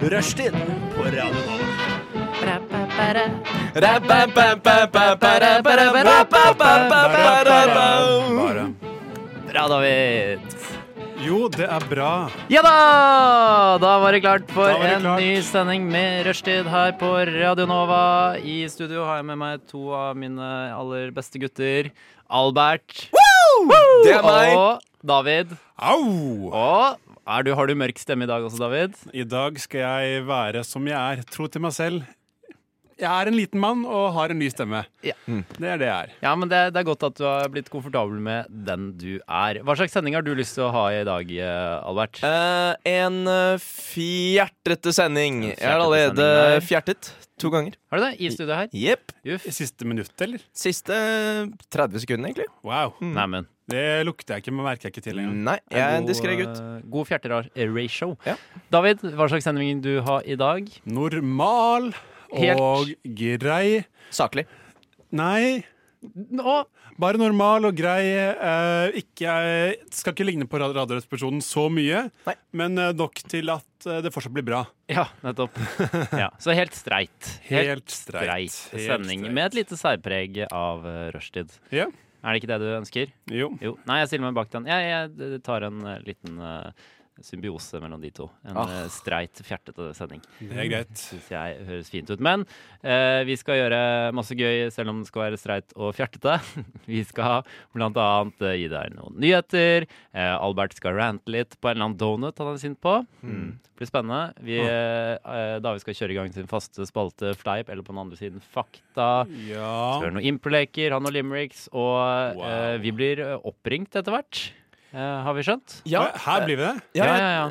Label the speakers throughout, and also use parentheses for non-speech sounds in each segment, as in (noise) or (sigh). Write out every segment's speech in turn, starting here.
Speaker 1: Rushtid på Radio Nova. Bra, David.
Speaker 2: Jo, det er bra.
Speaker 1: Ja da! Da var det klart for
Speaker 2: Da var det
Speaker 1: en
Speaker 2: klart.
Speaker 1: ny sending med rushtid her på Radio Nova. I studio har jeg med meg to av mine aller beste gutter. Albert.
Speaker 2: Det er meg.
Speaker 1: Og David.
Speaker 2: Au!
Speaker 1: Og er du, har du mørk stemme i dag også, David?
Speaker 2: I dag skal jeg være som jeg er. Tro til meg selv. Jeg er en liten mann og har en ny stemme.
Speaker 1: Ja.
Speaker 2: Det er det jeg er.
Speaker 1: Ja, men det, det er godt at du har blitt komfortabel med den du er. Hva slags sending har du lyst til å ha i dag, eh, Albert?
Speaker 3: Eh, en eh, fjertrete sending. Jeg har
Speaker 1: fjertrete sending der.
Speaker 3: allerede fjertet to ganger.
Speaker 1: Har du det? I studio her?
Speaker 3: Jepp.
Speaker 1: Juff.
Speaker 2: I siste minutt, eller?
Speaker 3: Siste 30 sekundene, egentlig.
Speaker 2: Wow.
Speaker 1: Neimen.
Speaker 2: Det lukter jeg ikke, men merker jeg ikke til engang.
Speaker 3: Nei, jeg er en diskré
Speaker 1: god,
Speaker 3: gutt.
Speaker 1: eh, God fjerterar-ratio.
Speaker 3: Ja.
Speaker 1: David, hva slags sending du har i dag?
Speaker 2: Normal
Speaker 1: Helt.
Speaker 2: og grei.
Speaker 1: eh,
Speaker 3: Saklig.
Speaker 2: Nei,
Speaker 1: Nå,
Speaker 2: bare normal og grei. Eh, ikke, skal ikke ligne på Radioresepsjonen så mye,
Speaker 3: Nei.
Speaker 2: men eh, nok til at eh, det fortsatt blir bra.
Speaker 1: Ja,
Speaker 3: (laughs)
Speaker 1: nettopp. Ja, så helt streit.
Speaker 2: Helt streit. Helt
Speaker 1: sending
Speaker 2: streit.
Speaker 1: med et lite særpreg av eh, rushtid.
Speaker 2: Ja.
Speaker 1: Er det ikke det du ønsker?
Speaker 2: Jo.
Speaker 1: Jo. Nei, jeg stiller meg bak den. Jeg, jeg tar en eh, liten eh, symbiose mellom de to. En
Speaker 3: Ah.
Speaker 1: eh, streit, fjertete sending.
Speaker 2: Det er greit.
Speaker 1: Syns jeg høres fint ut. Men eh, vi skal gjøre masse gøy, selv om det skal være streit og fjertete. (laughs) Vi skal blant annet eh, gi deg noen nyheter. Eh, Albert skal rante litt på en eller annen donut han er sint på. Mm.
Speaker 2: Hmm.
Speaker 1: Det blir spennende.
Speaker 2: Ah.
Speaker 1: Vi, eh, David skal kjøre i gang sin faste spalte Fleip, eller på den andre siden Fakta.
Speaker 2: Ja.
Speaker 1: Hør noen improleker, han og limericks, og
Speaker 2: Wow.
Speaker 1: eh, vi blir eh, oppringt etter hvert. Eh, har vi skjønt?
Speaker 3: Ja,
Speaker 2: Oi, Her blir vi det.
Speaker 3: ja,
Speaker 1: ja,
Speaker 3: ja,
Speaker 1: ja, ja.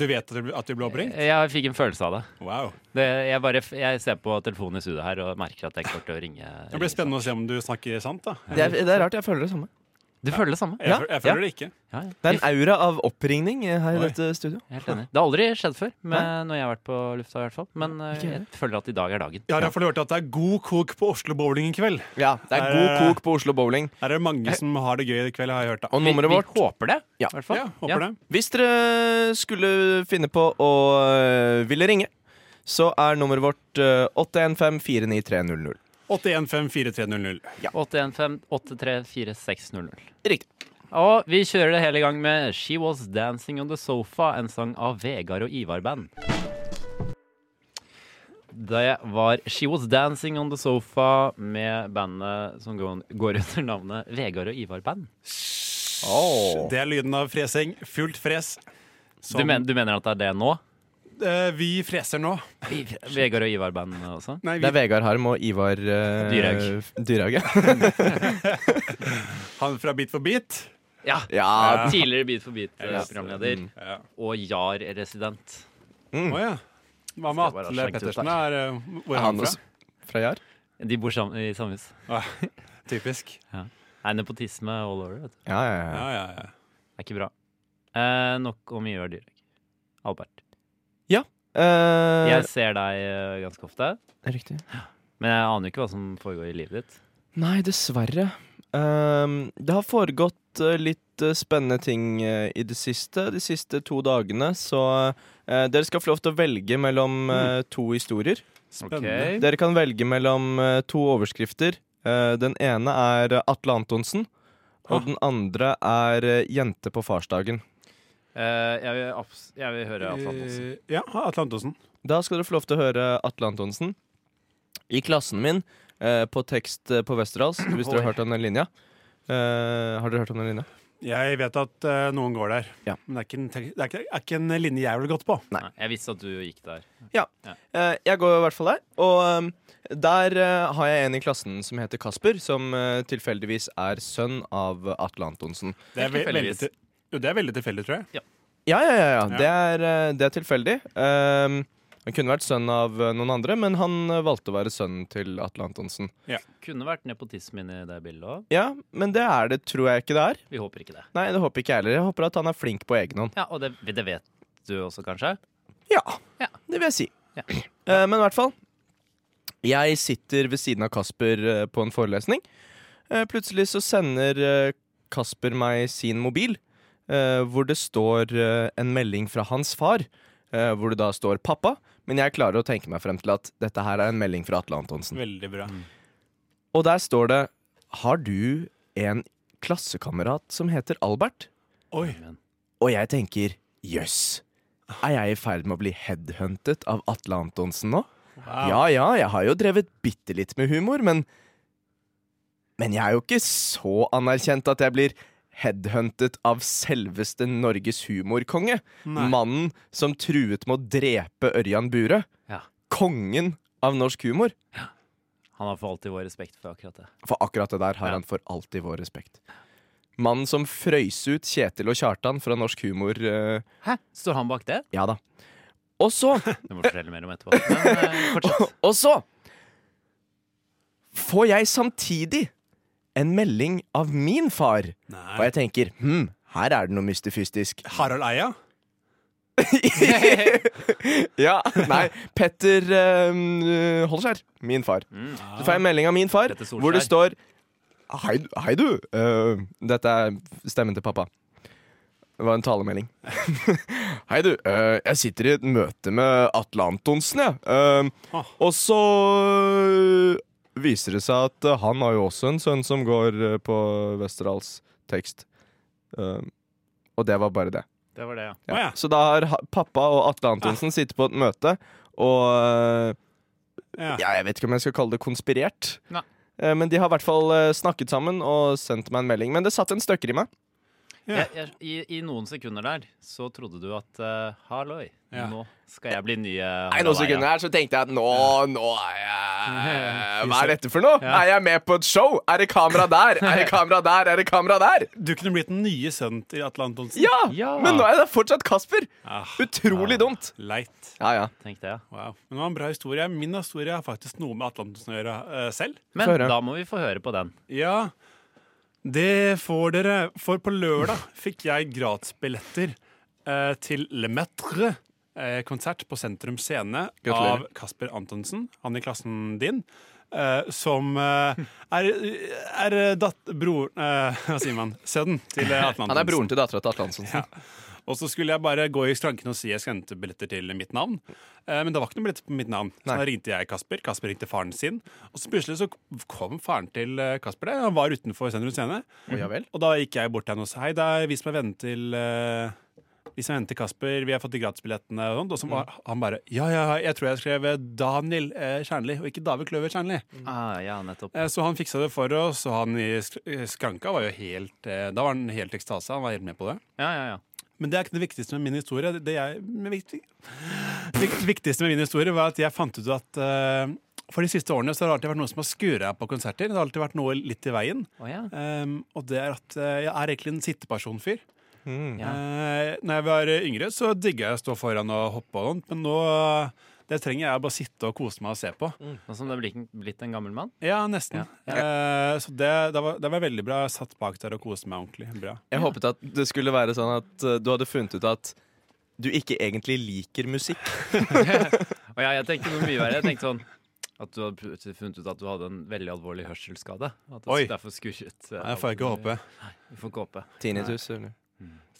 Speaker 2: Du vet at det blir- at vi ble oppringt?
Speaker 3: Eh,
Speaker 1: Jeg fikk en følelse av det.
Speaker 2: Wow.
Speaker 1: Det, jeg, bare, jeg ser på telefonen i studio her og merker at jeg kommer til å ringe.
Speaker 2: Det blir spennende å se om du snakker sant, da.
Speaker 3: Det, er, det er rart. Jeg føler det samme.
Speaker 1: Du føler det samme?
Speaker 2: Jeg,
Speaker 3: Ja,
Speaker 2: føl- jeg
Speaker 3: ja.
Speaker 2: føler det ikke.
Speaker 1: Ja, ja.
Speaker 3: Det er en aura av oppringning eh, her i
Speaker 2: Oi.
Speaker 3: dette studio.
Speaker 1: Helt enig. Det har aldri skjedd før med, når jeg har vært på lufta. i hvert fall Men eh,
Speaker 3: Ikke
Speaker 1: jeg føler at i dag er dagen.
Speaker 2: Jeg har iallfall hørt at det er god kok på Oslo Bowling i kveld.
Speaker 3: Ja, Det er
Speaker 2: Er
Speaker 1: Eh,
Speaker 3: god
Speaker 2: det-
Speaker 3: kok på Oslo Bowling.
Speaker 2: Her er det
Speaker 3: Eh.
Speaker 2: mange som har det gøy i kveld, har jeg hørt. da
Speaker 3: Og nummeret
Speaker 1: vi,
Speaker 3: vårt
Speaker 1: Vi håper det.
Speaker 3: Ja.
Speaker 1: i hvert fall.
Speaker 2: Ja, håper det.
Speaker 3: Hvis dere skulle finne på å øh, ville ringe, så er nummeret vårt øh, 815-49300.
Speaker 2: 81543000.
Speaker 1: 815-834-600.
Speaker 3: Riktig.
Speaker 1: Og vi kjører det hele i gang med She Was Dancing On The Sofa, en sang av Vegard og Ivar Band. Det var She Was Dancing On The Sofa med bandet som går går under navnet Vegard og Ivar Band.
Speaker 2: Det er lyden av fresing. Fullt fres.
Speaker 1: Du,
Speaker 2: Som
Speaker 1: men, du mener at det er det nå?
Speaker 2: eh, vi freser nå.
Speaker 1: Vegard og Ivar-band også?
Speaker 2: Nei, vi,
Speaker 3: Det er Vegard Harm og Ivar øh,
Speaker 1: Dyrhaug.
Speaker 3: Dyrhaug, ja.
Speaker 2: han fra Bit for bit.
Speaker 1: Ja.
Speaker 3: ja.
Speaker 1: Tidligere Beat for beat-programleder.
Speaker 3: Mm.
Speaker 2: Ja.
Speaker 1: Og JAR-resident.
Speaker 2: Mm. Å ja. Hva med
Speaker 1: Skal bare
Speaker 2: Atle
Speaker 1: sjekke ut
Speaker 2: Pettersen? Er,
Speaker 1: der.
Speaker 2: eh, hvor er
Speaker 3: Er
Speaker 2: han
Speaker 3: han
Speaker 2: fra?
Speaker 3: også fra Jar?
Speaker 1: De bor sammen, i samme hus.
Speaker 2: Typisk.
Speaker 1: Nei, nepotisme all over. Vet du.
Speaker 3: Ja, ja, ja.
Speaker 2: Ja, ja, ja.
Speaker 1: Det er ikke bra. Eh, nok om Ivar Dyrek. Albert.
Speaker 3: Eh,
Speaker 1: Jeg ser deg eh, ganske ofte,
Speaker 3: Riktig.
Speaker 1: men jeg aner jo ikke hva som foregår i livet ditt.
Speaker 3: Nei, dessverre. Ehm, det har foregått eh, litt eh, spennende ting eh, i det siste, de siste to dagene, så eh, dere skal få lov til å velge mellom eh, to historier.
Speaker 2: Spennende.
Speaker 1: Ok.
Speaker 3: Dere kan velge mellom eh, to overskrifter. Eh, den ene er eh, Atle Antonsen, og
Speaker 2: Ah.
Speaker 3: den andre er eh, Jente på farsdagen.
Speaker 1: Eh, jeg, vil abs- jeg vil høre Atle Antonsen.
Speaker 2: Eh, Ja, Atle Antonsen.
Speaker 3: Da skal dere få lov til å høre Atle Antonsen. I klassen min, eh, på tekst eh, på (clears throat) Westerdals, hvis dere har hørt om den linja. Eh, har dere hørt om den linja?
Speaker 2: Jeg vet at eh, noen går der,
Speaker 3: Ja.
Speaker 2: men det er, ikke en, tek- det, er ikke, er ikke en linje jeg ville gått på.
Speaker 3: Nei.
Speaker 1: Nei, Jeg visste at du gikk der.
Speaker 3: Eh, jeg går i hvert fall der. Og ehm, der eh, har jeg en i klassen som heter Kasper, som eh, tilfeldigvis er sønn av Atle Antonsen.
Speaker 2: Det er,
Speaker 1: Helt
Speaker 2: ve- veldig,
Speaker 1: tilfeldigvis.
Speaker 2: til- jo, det er veldig tilfeldig, tror jeg.
Speaker 3: Ja, ja, ja. ja.
Speaker 2: Ja.
Speaker 3: Det, er, eh, det er tilfeldig. Ehm, han kunne vært sønn av eh, noen andre, men han eh, valgte å være sønnen til Atle Antonsen.
Speaker 1: Kunne vært nepotisme inni det bildet òg.
Speaker 3: Ja, men det er det, tror jeg ikke det er.
Speaker 1: Vi håper ikke det.
Speaker 3: Nei, det håper ikke jeg heller. Jeg håper at han er flink på egen hånd.
Speaker 1: Ja, Og det, det vet du også, kanskje?
Speaker 3: Ja,
Speaker 1: Ja.
Speaker 3: det vil jeg si.
Speaker 1: Ja.
Speaker 3: (clears throat) Eh, men i hvert fall. Jeg sitter ved siden av Kasper eh, på en forelesning. Eh, plutselig så sender eh, Kasper meg sin mobil, eh, hvor det står eh, en melding fra hans far. eh, hvor det da står 'pappa', men jeg klarer å tenke meg frem til at dette her er en melding fra Atle Antonsen.
Speaker 2: Veldig bra.
Speaker 3: Og der står det 'Har du en klassekamerat som heter Albert?'
Speaker 2: Oi.
Speaker 3: Og jeg tenker 'jøss'. Er jeg i ferd med å bli headhuntet av Atle Antonsen nå? Ja ja, jeg har jo drevet bitte litt med humor, men Men jeg er jo ikke så anerkjent at jeg blir headhuntet av selveste Norges humorkonge.
Speaker 2: Nei.
Speaker 3: Mannen som truet med å drepe Ørjan Bure.
Speaker 1: Ja.
Speaker 3: Kongen av norsk humor.
Speaker 1: Han har for alltid vår respekt for akkurat det.
Speaker 3: For akkurat det der har
Speaker 1: Ja.
Speaker 3: han for alltid vår respekt. Mannen som frøys ut Kjetil og Kjartan fra norsk humor. eh,
Speaker 1: Hæ? Står han bak det?
Speaker 3: ja da. Og så
Speaker 1: Det må du fortelle mer om etterpå. Men eh, fortsett.
Speaker 3: Og så får jeg samtidig en melding av min far. Og
Speaker 2: Nei.
Speaker 3: jeg tenker hm, her er det noe mystifystisk.
Speaker 2: Harald Eia?
Speaker 3: (laughs) Ja, nei, Petter eh, Holskjær. Min far.
Speaker 1: Mm.
Speaker 3: Så får jeg en melding av min far
Speaker 1: Petter Solskjær.
Speaker 3: hvor det står Hei, hei du. Eh, dette er stemmen til pappa. Det var en talemelding. (laughs) Hei, du. eh, jeg sitter i et møte med Atle Antonsen, jeg. Eh,
Speaker 2: Ah.
Speaker 3: Og så eh, viser det seg at eh, han har jo også en sønn som går eh, på Westerdals tekst. Eh, og det var bare det.
Speaker 1: Det var det, ja.
Speaker 3: Ja.
Speaker 2: Å ja.
Speaker 3: Så da har ha- pappa og Atle Antonsen sittet på et møte og eh,
Speaker 2: Ja.
Speaker 3: ja, jeg vet ikke om jeg skal kalle det konspirert.
Speaker 1: Nei.
Speaker 3: Eh, Men de har i hvert fall eh, snakket sammen og sendt meg en melding. Men det satt en støkker i meg.
Speaker 2: Ja.
Speaker 1: Jeg, jeg, i, I noen sekunder der så trodde du at eh, halloi,
Speaker 2: Ja.
Speaker 1: nå skal jeg bli nye
Speaker 3: Nei, noen sekunder her så tenkte jeg at nå, nå er jeg Hva er dette for noe?
Speaker 1: Ja.
Speaker 3: Er jeg med på et show? Er det kamera der? Er det kamera der? Er det kamera der?
Speaker 2: Du kunne blitt den nye sønnen til Atle Antonsen.
Speaker 3: Ja!
Speaker 1: Ja.
Speaker 3: Men nå er det fortsatt Kasper.
Speaker 2: Ah,
Speaker 3: Utrolig dumt.
Speaker 2: leit.
Speaker 3: Ja, ja.
Speaker 1: Tenkte jeg.
Speaker 2: Wow. Men det var en bra historie. Min historie har faktisk noe med Atle Antonsen å gjøre eh, selv.
Speaker 1: Men
Speaker 3: Få høre.
Speaker 1: da må vi få høre på den.
Speaker 2: Ja, det får dere. For på lørdag fikk jeg gratisbilletter eh, til Le Metre. Eh, konsert på Sentrum Scene
Speaker 3: Gratulerer.
Speaker 2: av Kasper Antonsen, han i klassen din. Eh, som eh, er, er datt... Bror... Eh, (laughs) hva sier man? Sønnen til
Speaker 3: (laughs)
Speaker 2: eh, Atle Antonsen.
Speaker 3: Han er broren til dattera til Atle Antonsen.
Speaker 2: Og så skulle jeg bare gå i skranken og si jeg skulle hente billetter til mitt navn. Eh, men det var ikke noen billetter på mitt navn. Så
Speaker 3: Nei.
Speaker 2: da ringte jeg Kasper. Kasper ringte faren sin. Og så plutselig så kom faren til eh, Kasper der. Han var utenfor Sentrum Scene.
Speaker 3: Å, ja vel.
Speaker 2: Og da gikk jeg bort til henne og sa hei, det er vi som er venner til eh, vi som er venner til Kasper, vi har fått de gratisbillettene og sånt. Og så var
Speaker 3: Mm.
Speaker 2: han bare ja, ja, ja, jeg tror jeg skrev Daniel eh, Kjernli, og ikke David Kløver Kjernli.
Speaker 3: Mm.
Speaker 1: Ah, ja, nettopp.
Speaker 2: Eh, Så han fiksa det for oss, og han i sk- eh, skranka var jo helt eh, Da var han helt i ekstase, han var helt med på det.
Speaker 1: Ja, ja, ja.
Speaker 2: Men det er ikke det viktigste med min historie. Det, jeg, men viktig, vik- viktigste med min historie var at jeg fant ut at eh, for de siste årene så har det alltid vært noen som har skura på konserter. Det har alltid vært noe litt i veien.
Speaker 1: Å ja.
Speaker 2: Ehm, og det er at eh, jeg er egentlig en sittepersonfyr.
Speaker 3: Mm.
Speaker 1: ja.
Speaker 2: Eh, når jeg var yngre, så digga jeg å stå foran og hoppe og sånt, men nå det trenger jeg bare sitte og kose meg og se på.
Speaker 1: Nå som du er blitt, blitt en gammel mann.
Speaker 2: Mm. Ja, nesten.
Speaker 1: Ja.
Speaker 2: Eh, så det, det, var, det var veldig bra. Jeg satt bak der og koste meg ordentlig. Bra.
Speaker 3: Jeg håpet at det skulle være sånn at eh, du hadde funnet ut at du ikke egentlig liker musikk.
Speaker 1: Og ja, jeg tenkte noe mye verre. Jeg tenkte sånn at du hadde plutselig funnet ut at du hadde en veldig alvorlig hørselsskade. At det
Speaker 2: Oi.
Speaker 1: derfor skurret. eh,
Speaker 2: Jeg får ikke
Speaker 1: alt mulig.
Speaker 2: håpe.
Speaker 1: Vi får ikke håpe.
Speaker 3: Tinnitus. eller?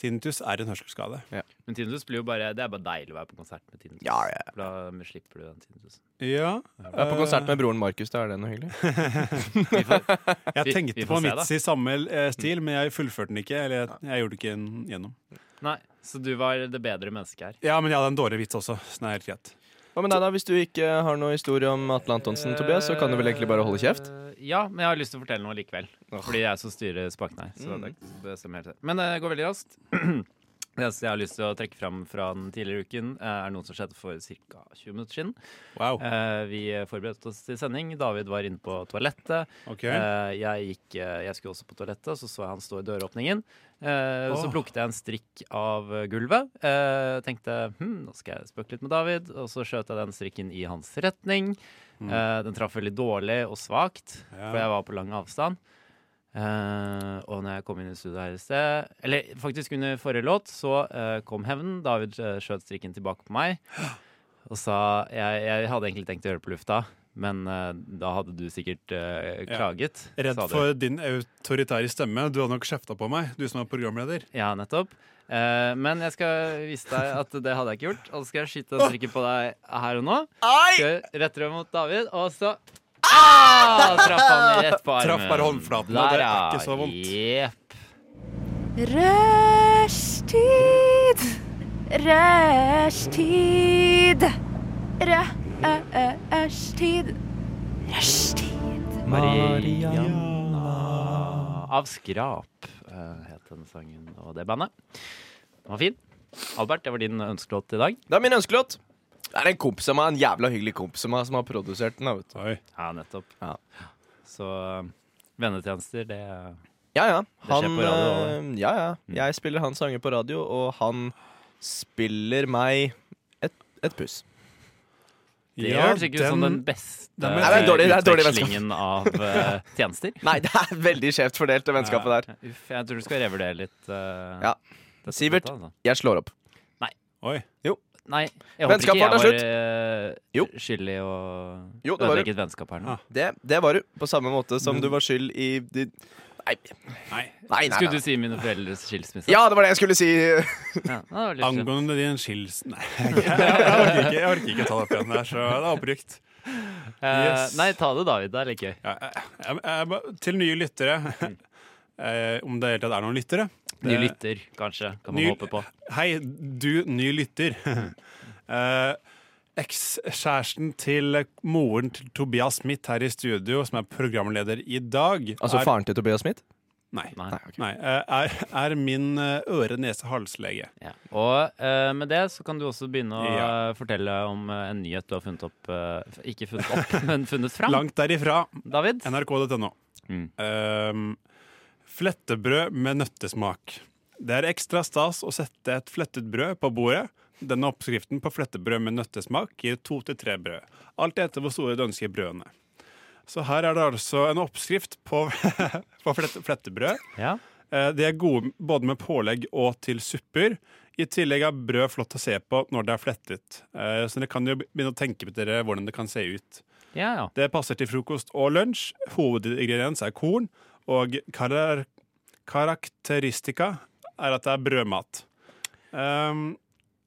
Speaker 2: Tinnitus er en hørselsskade.
Speaker 1: Men tinnitus blir jo bare Det er bare deilig å være på konsert med tinnitus.
Speaker 3: Ja, ja.
Speaker 1: For Da slipper du den tinnitusen.
Speaker 2: Ja.
Speaker 3: Jeg er på konsert med broren Markus. Da er det noe hyggelig.
Speaker 1: Vi får- Vi-
Speaker 2: Jeg
Speaker 1: vi
Speaker 2: tenkte
Speaker 1: får
Speaker 2: på
Speaker 1: se, da.
Speaker 2: vits i samme eh, stil, men jeg fullførte den ikke. Eller jeg, jeg gjorde det ikke en- gjennom.
Speaker 1: Nei, så du var det bedre mennesket her.
Speaker 2: Ja, men jeg hadde en dårlig vits også. Så det er helt greit.
Speaker 3: Hva med deg, da? Hvis du ikke har noe historie om Atle Antonsen, Tobias, så kan du vel egentlig bare holde kjeft?
Speaker 1: Eh, Ja, men jeg har lyst til å fortelle noe likevel.
Speaker 3: Åh. Mm.
Speaker 1: Fordi jeg er som styrer spaken her. Så det bestemmer helt selv. Men det går veldig raskt. (clears throat) Det eneste jeg har lyst til å trekke fram fra den tidligere uken, eh, er noe som skjedde for ca. 20 minutter siden.
Speaker 2: Wow.
Speaker 1: Eh, Vi forberedte oss til sending. David var inne på toalettet.
Speaker 2: Ok.
Speaker 1: Eh, Jeg, gikk, eh, jeg skulle også på toalettet, så så jeg han stå i døråpningen. Eh, Så
Speaker 2: Åh.
Speaker 1: plukket jeg en strikk av eh, gulvet. Eh, Tenkte hm, nå skal jeg spøke litt med David, og så skjøt jeg den strikken i hans retning. Eh, Den traff veldig dårlig og svakt,
Speaker 2: Mm. Ja.
Speaker 1: for jeg var på lang avstand. Eh, og når jeg kom inn i studio her i sted Eller faktisk under forrige låt så eh, kom hevnen. David eh, skjøt strikken tilbake på meg og sa jeg, jeg hadde egentlig tenkt å gjøre det på lufta, Men eh, da hadde du sikkert eh,
Speaker 2: Ja.
Speaker 1: klaget.
Speaker 2: Redd
Speaker 1: sa du.
Speaker 2: for din autoritære stemme. Du hadde nok kjefta på meg, du som er programleder.
Speaker 1: Ja, nettopp. Eh, men jeg skal vise deg at det hadde jeg ikke gjort. Og så skal jeg skyte en strikke på deg her og nå. Skal jeg Rette deg mot David, og så ah! Traff han rett på armen.
Speaker 2: Traff bare håndflaten, og det er ikke så vondt.
Speaker 1: Jepp.
Speaker 4: Rushtid! Rushtid! Rushtid! Rushtid!
Speaker 1: Mariana Av Skrap eh, het den sangen og det bandet. Den var fin. Albert, det var din ønskelåt i dag.
Speaker 3: Det er min ønskelåt. Det er en kompis av meg, en jævla hyggelig kompis av meg som har produsert den. da, vet du.
Speaker 2: Oi.
Speaker 1: Ja, nettopp.
Speaker 3: Ja.
Speaker 1: Så eh, vennetjenester, det er
Speaker 3: Ja, ja.
Speaker 1: skjer på radio, Mm.
Speaker 3: eh, ja, ja. Jeg spiller hans sanger på radio, og han spiller meg et, et puss.
Speaker 1: Det
Speaker 2: Ja,
Speaker 1: høres ikke ut som den beste
Speaker 2: den- Nei,
Speaker 3: det er dårlig- det er dårlig
Speaker 1: utvekslingen av eh, tjenester.
Speaker 3: Nei, (laughs) det er veldig skjevt fordelt, det vennskapet der.
Speaker 1: Uff, jeg tror du skal revurdere litt. eh,
Speaker 3: Ja.
Speaker 1: dette-
Speaker 3: Sivert.
Speaker 1: dette, altså.
Speaker 3: Jeg slår opp.
Speaker 2: Oi.
Speaker 1: Nei, jeg håper ikke
Speaker 3: Vennskapet
Speaker 1: jeg
Speaker 3: vårt er
Speaker 1: var
Speaker 3: slutt.
Speaker 1: eh,
Speaker 3: Jo.
Speaker 1: skyldig i å
Speaker 3: Jo, det var
Speaker 1: ødelegge et vennskap her nå.
Speaker 2: Ja.
Speaker 3: Det, det var du. På samme måte som du var skyld i de... Nei.
Speaker 2: Nei.
Speaker 3: Nei, nei,
Speaker 1: Skulle du
Speaker 3: nei.
Speaker 1: si mine foreldres skilsmisse?
Speaker 3: Ja, det var det jeg skulle si.
Speaker 1: Ja, det var litt synd.
Speaker 2: Angående din skils... Nei, jeg, (laughs) jeg, orker ikke, jeg orker ikke ta det opp igjen der, så det er opprykt.
Speaker 1: Eh,
Speaker 2: Yes.
Speaker 1: Nei, ta det, David. Det er litt gøy.
Speaker 2: Ja, eh, jeg, jeg, jeg, ba- til nye lyttere, (laughs) eh, om det i hele tatt er noen lyttere
Speaker 1: Ny
Speaker 2: det-
Speaker 1: lytter, kanskje, kan man
Speaker 2: Ny-
Speaker 1: håpe på.
Speaker 2: Hei, du ny lytter. (laughs) Eh, Ekskjæresten til moren til Tobias Smith her i studio, som er programleder i dag
Speaker 3: Altså
Speaker 2: er,
Speaker 3: faren til Tobias Smith?
Speaker 2: Nei.
Speaker 1: Nei.
Speaker 3: Nei, ok.
Speaker 2: nei eh, er, er min eh, øre-nese-halslege.
Speaker 1: Ja. Og eh, med det så kan du også begynne å
Speaker 2: Ja.
Speaker 1: eh, fortelle om eh, en nyhet du har funnet opp eh, f- Ikke funnet
Speaker 2: (laughs)
Speaker 1: opp, men funnet
Speaker 3: Ah.
Speaker 1: fram.
Speaker 2: Langt derifra.
Speaker 1: David?
Speaker 2: NRK.no.
Speaker 1: Mm.
Speaker 2: Ehm, flettebrød med nøttesmak. Det er ekstra stas å sette et flettet brød på bordet. Denne oppskriften på flettebrød med nøttesmak gir to til tre brød. Alt etter hvor store du ønsker brødene. Så her er det altså en oppskrift på, (laughs) på flette, flettebrød.
Speaker 1: Ja.
Speaker 2: Eh, De er gode både med pålegg og til supper. I tillegg er brød flott å se på når det er flettet. Eh, Så dere kan jo begynne å tenke på dere hvordan det kan se ut.
Speaker 1: ja, ja.
Speaker 2: Det passer til frokost og lunsj. Hovedingrediens er korn, og karar karakteristika er at det er brødmat. Ehm,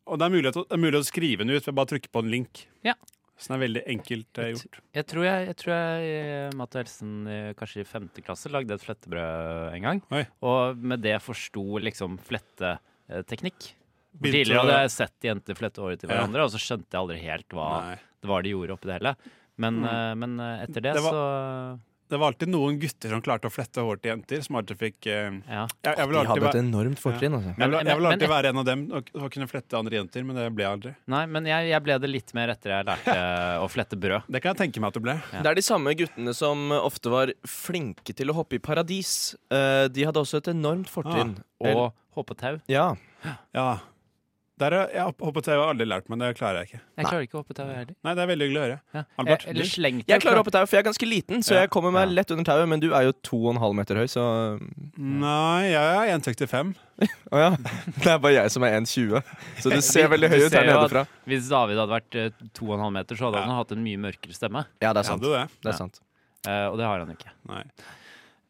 Speaker 2: og det er, mulig å, det er mulig å skrive den ut ved bare å trykke på en link.
Speaker 1: Ja.
Speaker 2: Så den er veldig enkelt eh, gjort.
Speaker 1: Jeg tror jeg, jeg, tror jeg eh, Matt og Helsen eh, kanskje i femte klasse lagde et flettebrød en gang.
Speaker 2: Oi.
Speaker 1: Og med det forsto liksom fletteteknikk.
Speaker 2: Begynte
Speaker 1: Tidligere
Speaker 2: å-
Speaker 1: hadde jeg sett jenter flette håret til
Speaker 2: Ja.
Speaker 1: hverandre, og så skjønte jeg aldri helt hva
Speaker 2: Nei.
Speaker 1: det var de gjorde oppi det hele. Men, eh, men eh, etter det,
Speaker 2: Det var-
Speaker 1: så
Speaker 2: Det var alltid noen gutter som klarte å flette hår til jenter, som alltid fikk eh,
Speaker 1: ja.
Speaker 2: jeg, jeg vil alltid,
Speaker 3: De hadde et
Speaker 2: være,
Speaker 3: enormt fortrinn,
Speaker 2: jeg
Speaker 3: altså.
Speaker 2: vil, jeg vil
Speaker 1: Men-
Speaker 2: alltid være en av dem og, og kunne flette andre jenter, men det ble jeg aldri.
Speaker 1: Nei, men jeg, jeg ble det litt mer etter
Speaker 2: (laughs)
Speaker 1: jeg lærte å flette brød.
Speaker 2: Det kan jeg tenke meg at du ble.
Speaker 3: Det er de samme guttene som ofte var flinke til å hoppe i paradis. Eh, De hadde også et enormt fortrinn.
Speaker 1: Og hoppe tau.
Speaker 3: Ah, Ja.
Speaker 2: Ja. Der, er- jeg hoppet jeg har aldri lært meg, det klarer jeg ikke.
Speaker 1: Jeg klarer ikke å hoppe tau, jeg heller.
Speaker 2: Nei, det er veldig hyggelig å høre.
Speaker 1: Ja.
Speaker 2: Albert,
Speaker 1: Eh, Eller
Speaker 2: du?
Speaker 1: slengtau.
Speaker 3: Jeg klarer å hoppe tau, for jeg er ganske liten, så
Speaker 2: Ja.
Speaker 3: jeg kommer meg
Speaker 1: Ja.
Speaker 3: lett under tauet. Men du er jo to og en halv meter høy, så
Speaker 2: Nei, jeg er 1,65.
Speaker 3: Å ja. (laughs) Det er bare jeg som er 1,20. Så (laughs) du ser veldig
Speaker 1: Du
Speaker 3: høy ut
Speaker 1: ser
Speaker 3: her
Speaker 1: jo
Speaker 3: nede
Speaker 1: at
Speaker 3: fra.
Speaker 1: Hvis David hadde vært eh, to og en halv meter, så hadde
Speaker 2: Ja.
Speaker 1: han hatt en mye mørkere stemme.
Speaker 3: Ja, det er sant.
Speaker 2: Hadde du det?
Speaker 3: Det
Speaker 1: Ja.
Speaker 3: er sant.
Speaker 1: Eh, og det har han ikke.
Speaker 2: Nei.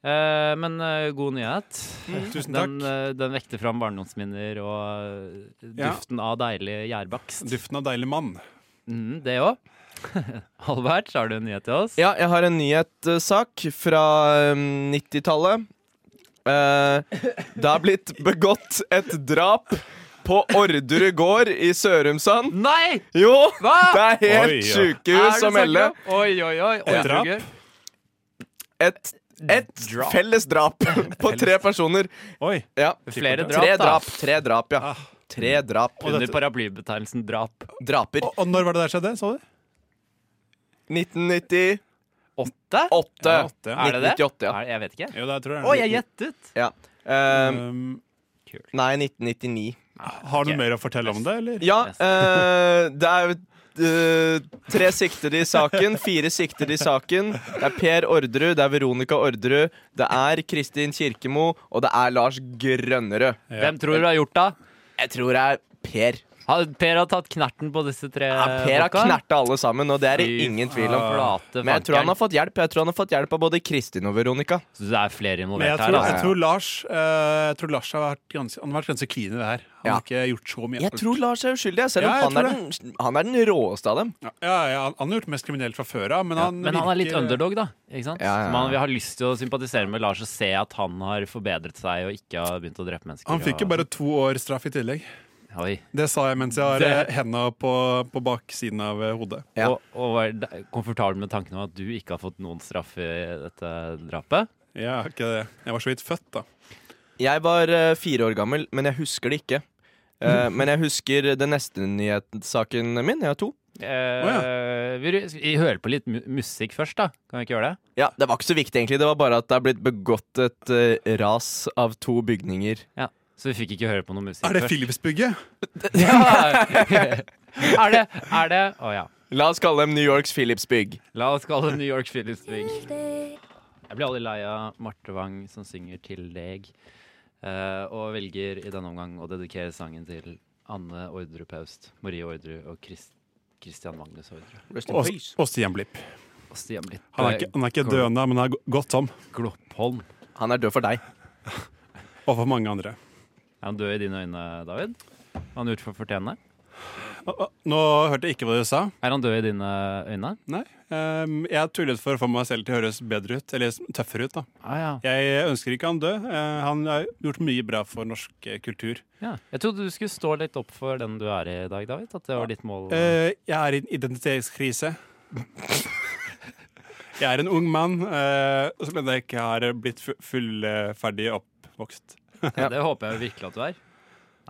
Speaker 1: Eh, men eh, god nyhet.
Speaker 2: Tusen takk.
Speaker 1: Den, eh, den vekte fram barndomsminner og eh,
Speaker 2: Ja.
Speaker 1: duften av deilig gjærbakst.
Speaker 2: Duften av deilig mann.
Speaker 1: Mm, det òg. (laughs) Albert, har du en nyhet til oss?
Speaker 3: Ja, jeg har en nyhetssak fra eh, 90-tallet. Eh, det har blitt begått et drap på Orderud gård i Sørumsand.
Speaker 1: Nei!
Speaker 3: Jo!
Speaker 1: Hva?
Speaker 3: Det er
Speaker 2: Oi, ja.
Speaker 3: helt
Speaker 1: Er
Speaker 3: sjukehus
Speaker 1: det
Speaker 3: å melde.
Speaker 1: sant? Oi, oi, oi. oi
Speaker 2: Et drap?
Speaker 1: Roger.
Speaker 3: Et, et felles drap (laughs) på tre personer.
Speaker 2: Oi.
Speaker 3: Ja.
Speaker 1: Flere drap,
Speaker 3: Tre
Speaker 1: da.
Speaker 3: drap, tre drap, ja. Tre drap.
Speaker 1: Under paraplybetegnelsen drap.
Speaker 3: Draper.
Speaker 2: Og, og når var det der skjedde? Så du?
Speaker 3: 1998.
Speaker 1: Åtte?
Speaker 2: Ja, åtte, ja.
Speaker 1: Er det det?
Speaker 3: 1998, ja.
Speaker 1: Er- Jeg vet ikke.
Speaker 2: Jo, det tror jeg.
Speaker 1: Å, jeg gjettet!
Speaker 3: ja. Ehm,
Speaker 2: Um,
Speaker 3: nei, 1999.
Speaker 2: har du mer å fortelle om det, eller?
Speaker 3: Ja,
Speaker 1: Yes.
Speaker 3: eh, det er jo eh, tre siktede i saken. Fire siktede i saken. Det er Per Orderud, det er Veronica Orderud, det er Kristin Kirkemo, og det er Lars Grønnerød.
Speaker 2: Ja.
Speaker 1: Hvem tror du har gjort det?
Speaker 3: Jeg tror det er Per.
Speaker 1: Har- Per har tatt knerten på disse tre
Speaker 3: Ja, per har
Speaker 1: folka.
Speaker 3: knerta alle sammen, og det er det
Speaker 1: Eh, Fy
Speaker 3: ingen tvil om.
Speaker 1: flate
Speaker 3: Men jeg tror
Speaker 1: fankeren.
Speaker 3: han har fått hjelp Jeg tror han har fått hjelp av både Kristin og Veronica.
Speaker 1: Så det er flere
Speaker 2: Men jeg tror,
Speaker 1: involvert her.
Speaker 2: jeg
Speaker 1: Altså.
Speaker 2: tror Lars eh, Jeg tror Lars har vært ganske, han har vært ganske clean i det her. Han
Speaker 3: Ja.
Speaker 2: har ikke gjort så mye.
Speaker 3: Jeg tror Lars er uskyldig, selv om
Speaker 2: Ja, jeg
Speaker 3: han, er
Speaker 2: tror
Speaker 3: den, han er den råeste av dem.
Speaker 2: ja, ja, ja, han- han har gjort mest kriminelt fra før av, men, han
Speaker 1: Men han er litt
Speaker 2: virker-
Speaker 1: underdog, da. Ikke sant?
Speaker 3: Ja, ja, ja.
Speaker 1: Så man vil ha lyst til å sympatisere med Lars og se at han har forbedret seg og ikke har begynt å drepe mennesker.
Speaker 2: Han fikk jo
Speaker 1: og...
Speaker 2: bare to år straff i tillegg.
Speaker 1: Oi.
Speaker 2: Det sa jeg mens jeg har
Speaker 1: Det-
Speaker 2: eh, henda på, på baksiden av eh, hodet.
Speaker 3: Ja.
Speaker 1: Og, og var d- komfortabel med tanken om at du ikke har fått noen straff i dette drapet.
Speaker 2: Ja, ikke det. Jeg var så vidt født, da.
Speaker 3: Jeg var eh, fire år gammel, men jeg husker det ikke. Eh,
Speaker 1: Mm.
Speaker 3: men jeg husker den neste nyhetssaken min. Jeg har to.
Speaker 1: Eh, vi, vi hører på litt mu musikk først, da. Kan vi ikke gjøre det?
Speaker 3: Ja, Det var ikke så viktig, egentlig. Det var bare at det er blitt begått et eh, ras av to bygninger.
Speaker 1: Ja. Så vi fikk ikke høre på noe musikk
Speaker 2: Er det
Speaker 1: først.
Speaker 2: Philipsbygget?
Speaker 1: (laughs) Ja. (laughs) er det Er det Å ja.
Speaker 3: La oss kalle dem New Yorks Philipsbygg.
Speaker 1: La oss kalle det New York Philipsburg. Jeg blir aldri lei av Marte Wang som synger til deg, eh, og velger i denne omgang å dedikere sangen til Anne Ordre Paust, Marie Ordre og Chris Christian Magnus Ordre.
Speaker 2: Ås- Åstian Blipp.
Speaker 1: Og Stian Blipp.
Speaker 2: Han er ikke, han er ikke
Speaker 1: Går-
Speaker 2: døende, men han er go- godt om.
Speaker 1: Gloppholm.
Speaker 3: Han er død for deg.
Speaker 2: Og for mange andre.
Speaker 1: Er han død i dine øyne, David? Har han gjort for fortjene?
Speaker 2: Å, å, Nå hørte jeg ikke hva du sa.
Speaker 1: Er han død i dine øyne?
Speaker 2: Nei. Ehm, jeg tullet for å få meg selv til å høres bedre ut, eller tøffere ut, da.
Speaker 1: Ah, ja.
Speaker 2: Jeg ønsker ikke han død. Eh, han har gjort mye bra for norsk eh, kultur.
Speaker 1: ja. Jeg trodde du skulle stå litt opp for den du er i i dag, David. At det var ditt mål.
Speaker 2: Eh, jeg er i en (laughs) identitetskrise. jeg er en ung mann eh, så lenge jeg ikke har blitt fu- fullferdig oppvokst.
Speaker 3: Ja. Um,
Speaker 1: Det håper jeg virkelig at du er.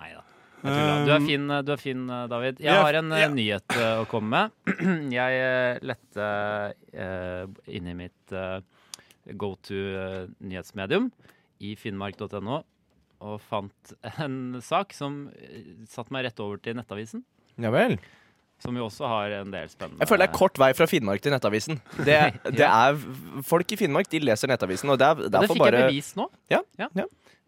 Speaker 1: Nei da. Jeg tror det. Du er fin, eh, du er fin, David. Jeg
Speaker 2: Ja,
Speaker 1: har en eh,
Speaker 2: ja.
Speaker 1: nyhet eh, å komme med. (clears throat) Jeg eh, lette eh, inn i mitt eh, go to eh, nyhetsmedium i finnmark.no og fant en sak som eh, satte meg rett over til Nettavisen,
Speaker 3: Ja vel.
Speaker 1: som jo også har en del spennende
Speaker 3: Jeg føler det er kort vei fra Finnmark til Nettavisen. Det,
Speaker 1: (laughs)
Speaker 3: det er, folk i Finnmark de leser Nettavisen, og det er
Speaker 1: Men Det
Speaker 3: derfor
Speaker 1: fikk
Speaker 3: bare
Speaker 1: jeg bevis nå.
Speaker 3: Ja, ja.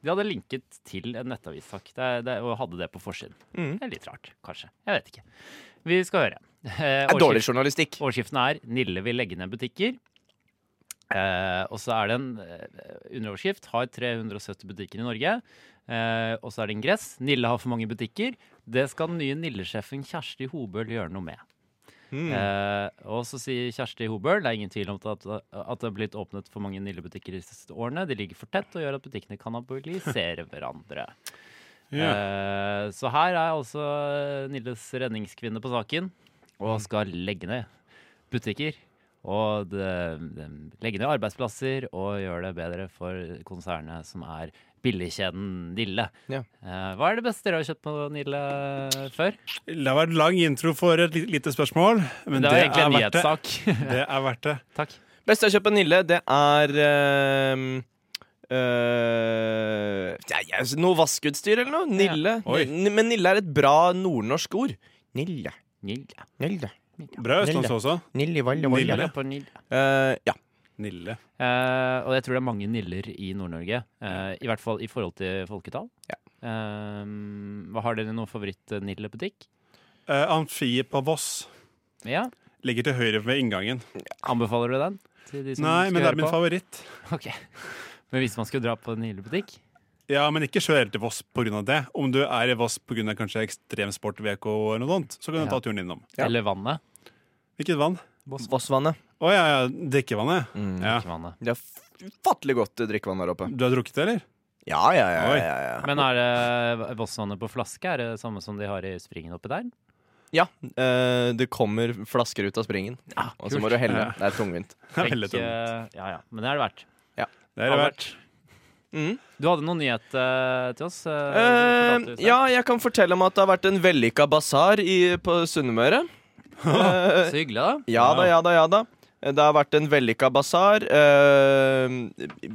Speaker 1: De hadde linket til en nettavissak det, er- det, er- og hadde det på forsiden.
Speaker 3: Mm.
Speaker 1: Det er litt rart, kanskje. Jeg vet ikke. Vi skal høre. Eh,
Speaker 3: Det er dårlig
Speaker 1: overskrift-
Speaker 3: journalistikk.
Speaker 1: Overskriften er 'Nille vil legge ned butikker'. Eh, og så er det en eh, underoverskrift. Har 370 butikker i Norge. Eh, og så er det ingress. 'Nille har for mange butikker'. Det skal den nye Nille-sjefen Kjersti Hobøl gjøre noe med. Eh, og så sier Kjersti Hobøl det er ingen tvil om at, at det er blitt åpnet for mange Nille-butikker de siste årene. De ligger for tett og gjør at butikkene kannibalisere (laughs) hverandre. Eh, så her er altså Nilles redningskvinne på saken og skal legge ned butikker. Og det, det, legge ned arbeidsplasser og gjøre det bedre for konsernet som er billigkjeden Nille.
Speaker 3: Ja.
Speaker 1: Eh, hva er det beste dere har kjøpt på Nille eh, før?
Speaker 2: Det har vært lang intro for et li- lite spørsmål, men
Speaker 1: det
Speaker 2: det,
Speaker 1: var
Speaker 2: er
Speaker 1: egentlig en
Speaker 2: verdt det.
Speaker 1: nyhetssak. (laughs)
Speaker 2: Det er verdt det.
Speaker 1: Takk.
Speaker 3: Beste jeg kjøper Nille, det er ehm, eh, ja, ja, Noe vaskeutstyr eller noe. Nille.
Speaker 2: Oi.
Speaker 3: N- Men Nille er et bra nordnorsk ord. Nille.
Speaker 1: Nille.
Speaker 3: Nille.
Speaker 2: Bra østlandsk også.
Speaker 3: Nille, valle,
Speaker 2: valle.
Speaker 1: Nille
Speaker 2: Nille.
Speaker 1: på Nille.
Speaker 3: Eh, ja.
Speaker 2: Nille.
Speaker 1: Eh, og jeg tror det er mange niller i Nord-Norge. eh, I hvert fall i forhold til folketall.
Speaker 3: Ja.
Speaker 1: Eh, hva har dere noen favoritt-nille-butikk?
Speaker 2: Eh, Amfiet på Voss
Speaker 1: Ja.
Speaker 2: ligger til høyre ved inngangen.
Speaker 1: Anbefaler du den? Til de som
Speaker 2: Nei,
Speaker 1: skal
Speaker 2: men det
Speaker 1: høre
Speaker 2: er min
Speaker 1: på?
Speaker 2: favoritt.
Speaker 1: Ok. Men hvis man skulle dra på en nillebutikk
Speaker 2: Ja, men ikke kjør helt til Voss pga. det. Om du er i Voss pga. kanskje ekstremsport, VK eller noe sånt, så kan du
Speaker 1: Ja.
Speaker 2: ta turen innom.
Speaker 3: Ja.
Speaker 1: Eller vannet.
Speaker 2: Hvilket vann?
Speaker 3: Vossvannet.
Speaker 2: Å ja, ja, drikkevannet. Ja.
Speaker 1: ikke vannet.
Speaker 3: Det er ufattelig godt drikkevann der oppe.
Speaker 2: Du har drukket det, eller?
Speaker 3: Ja, ja, ja.
Speaker 2: Oi.
Speaker 3: ja, ja.
Speaker 1: Men er det Vossvannet på flaske? Er det samme som de har i springen oppi der?
Speaker 3: ja eh, det kommer flasker ut av springen, og så må du helle.
Speaker 2: Ja.
Speaker 3: Det er tungvint.
Speaker 2: (laughs) Det er veldig tungt.
Speaker 1: Tenk, eh, ja, ja. Men det er det verdt.
Speaker 2: Det er det verdt.
Speaker 3: Mm.
Speaker 1: Du hadde noen nyhet eh, til oss? eh,
Speaker 3: Eh,
Speaker 1: fortalte du selv.
Speaker 3: ja, jeg kan fortelle om at det har vært en vellykka basar i- på Sunnmøre. Eh,
Speaker 1: Så hyggelig, da.
Speaker 3: ja da, ja da, ja da. Det har vært en vellykka basar, eh,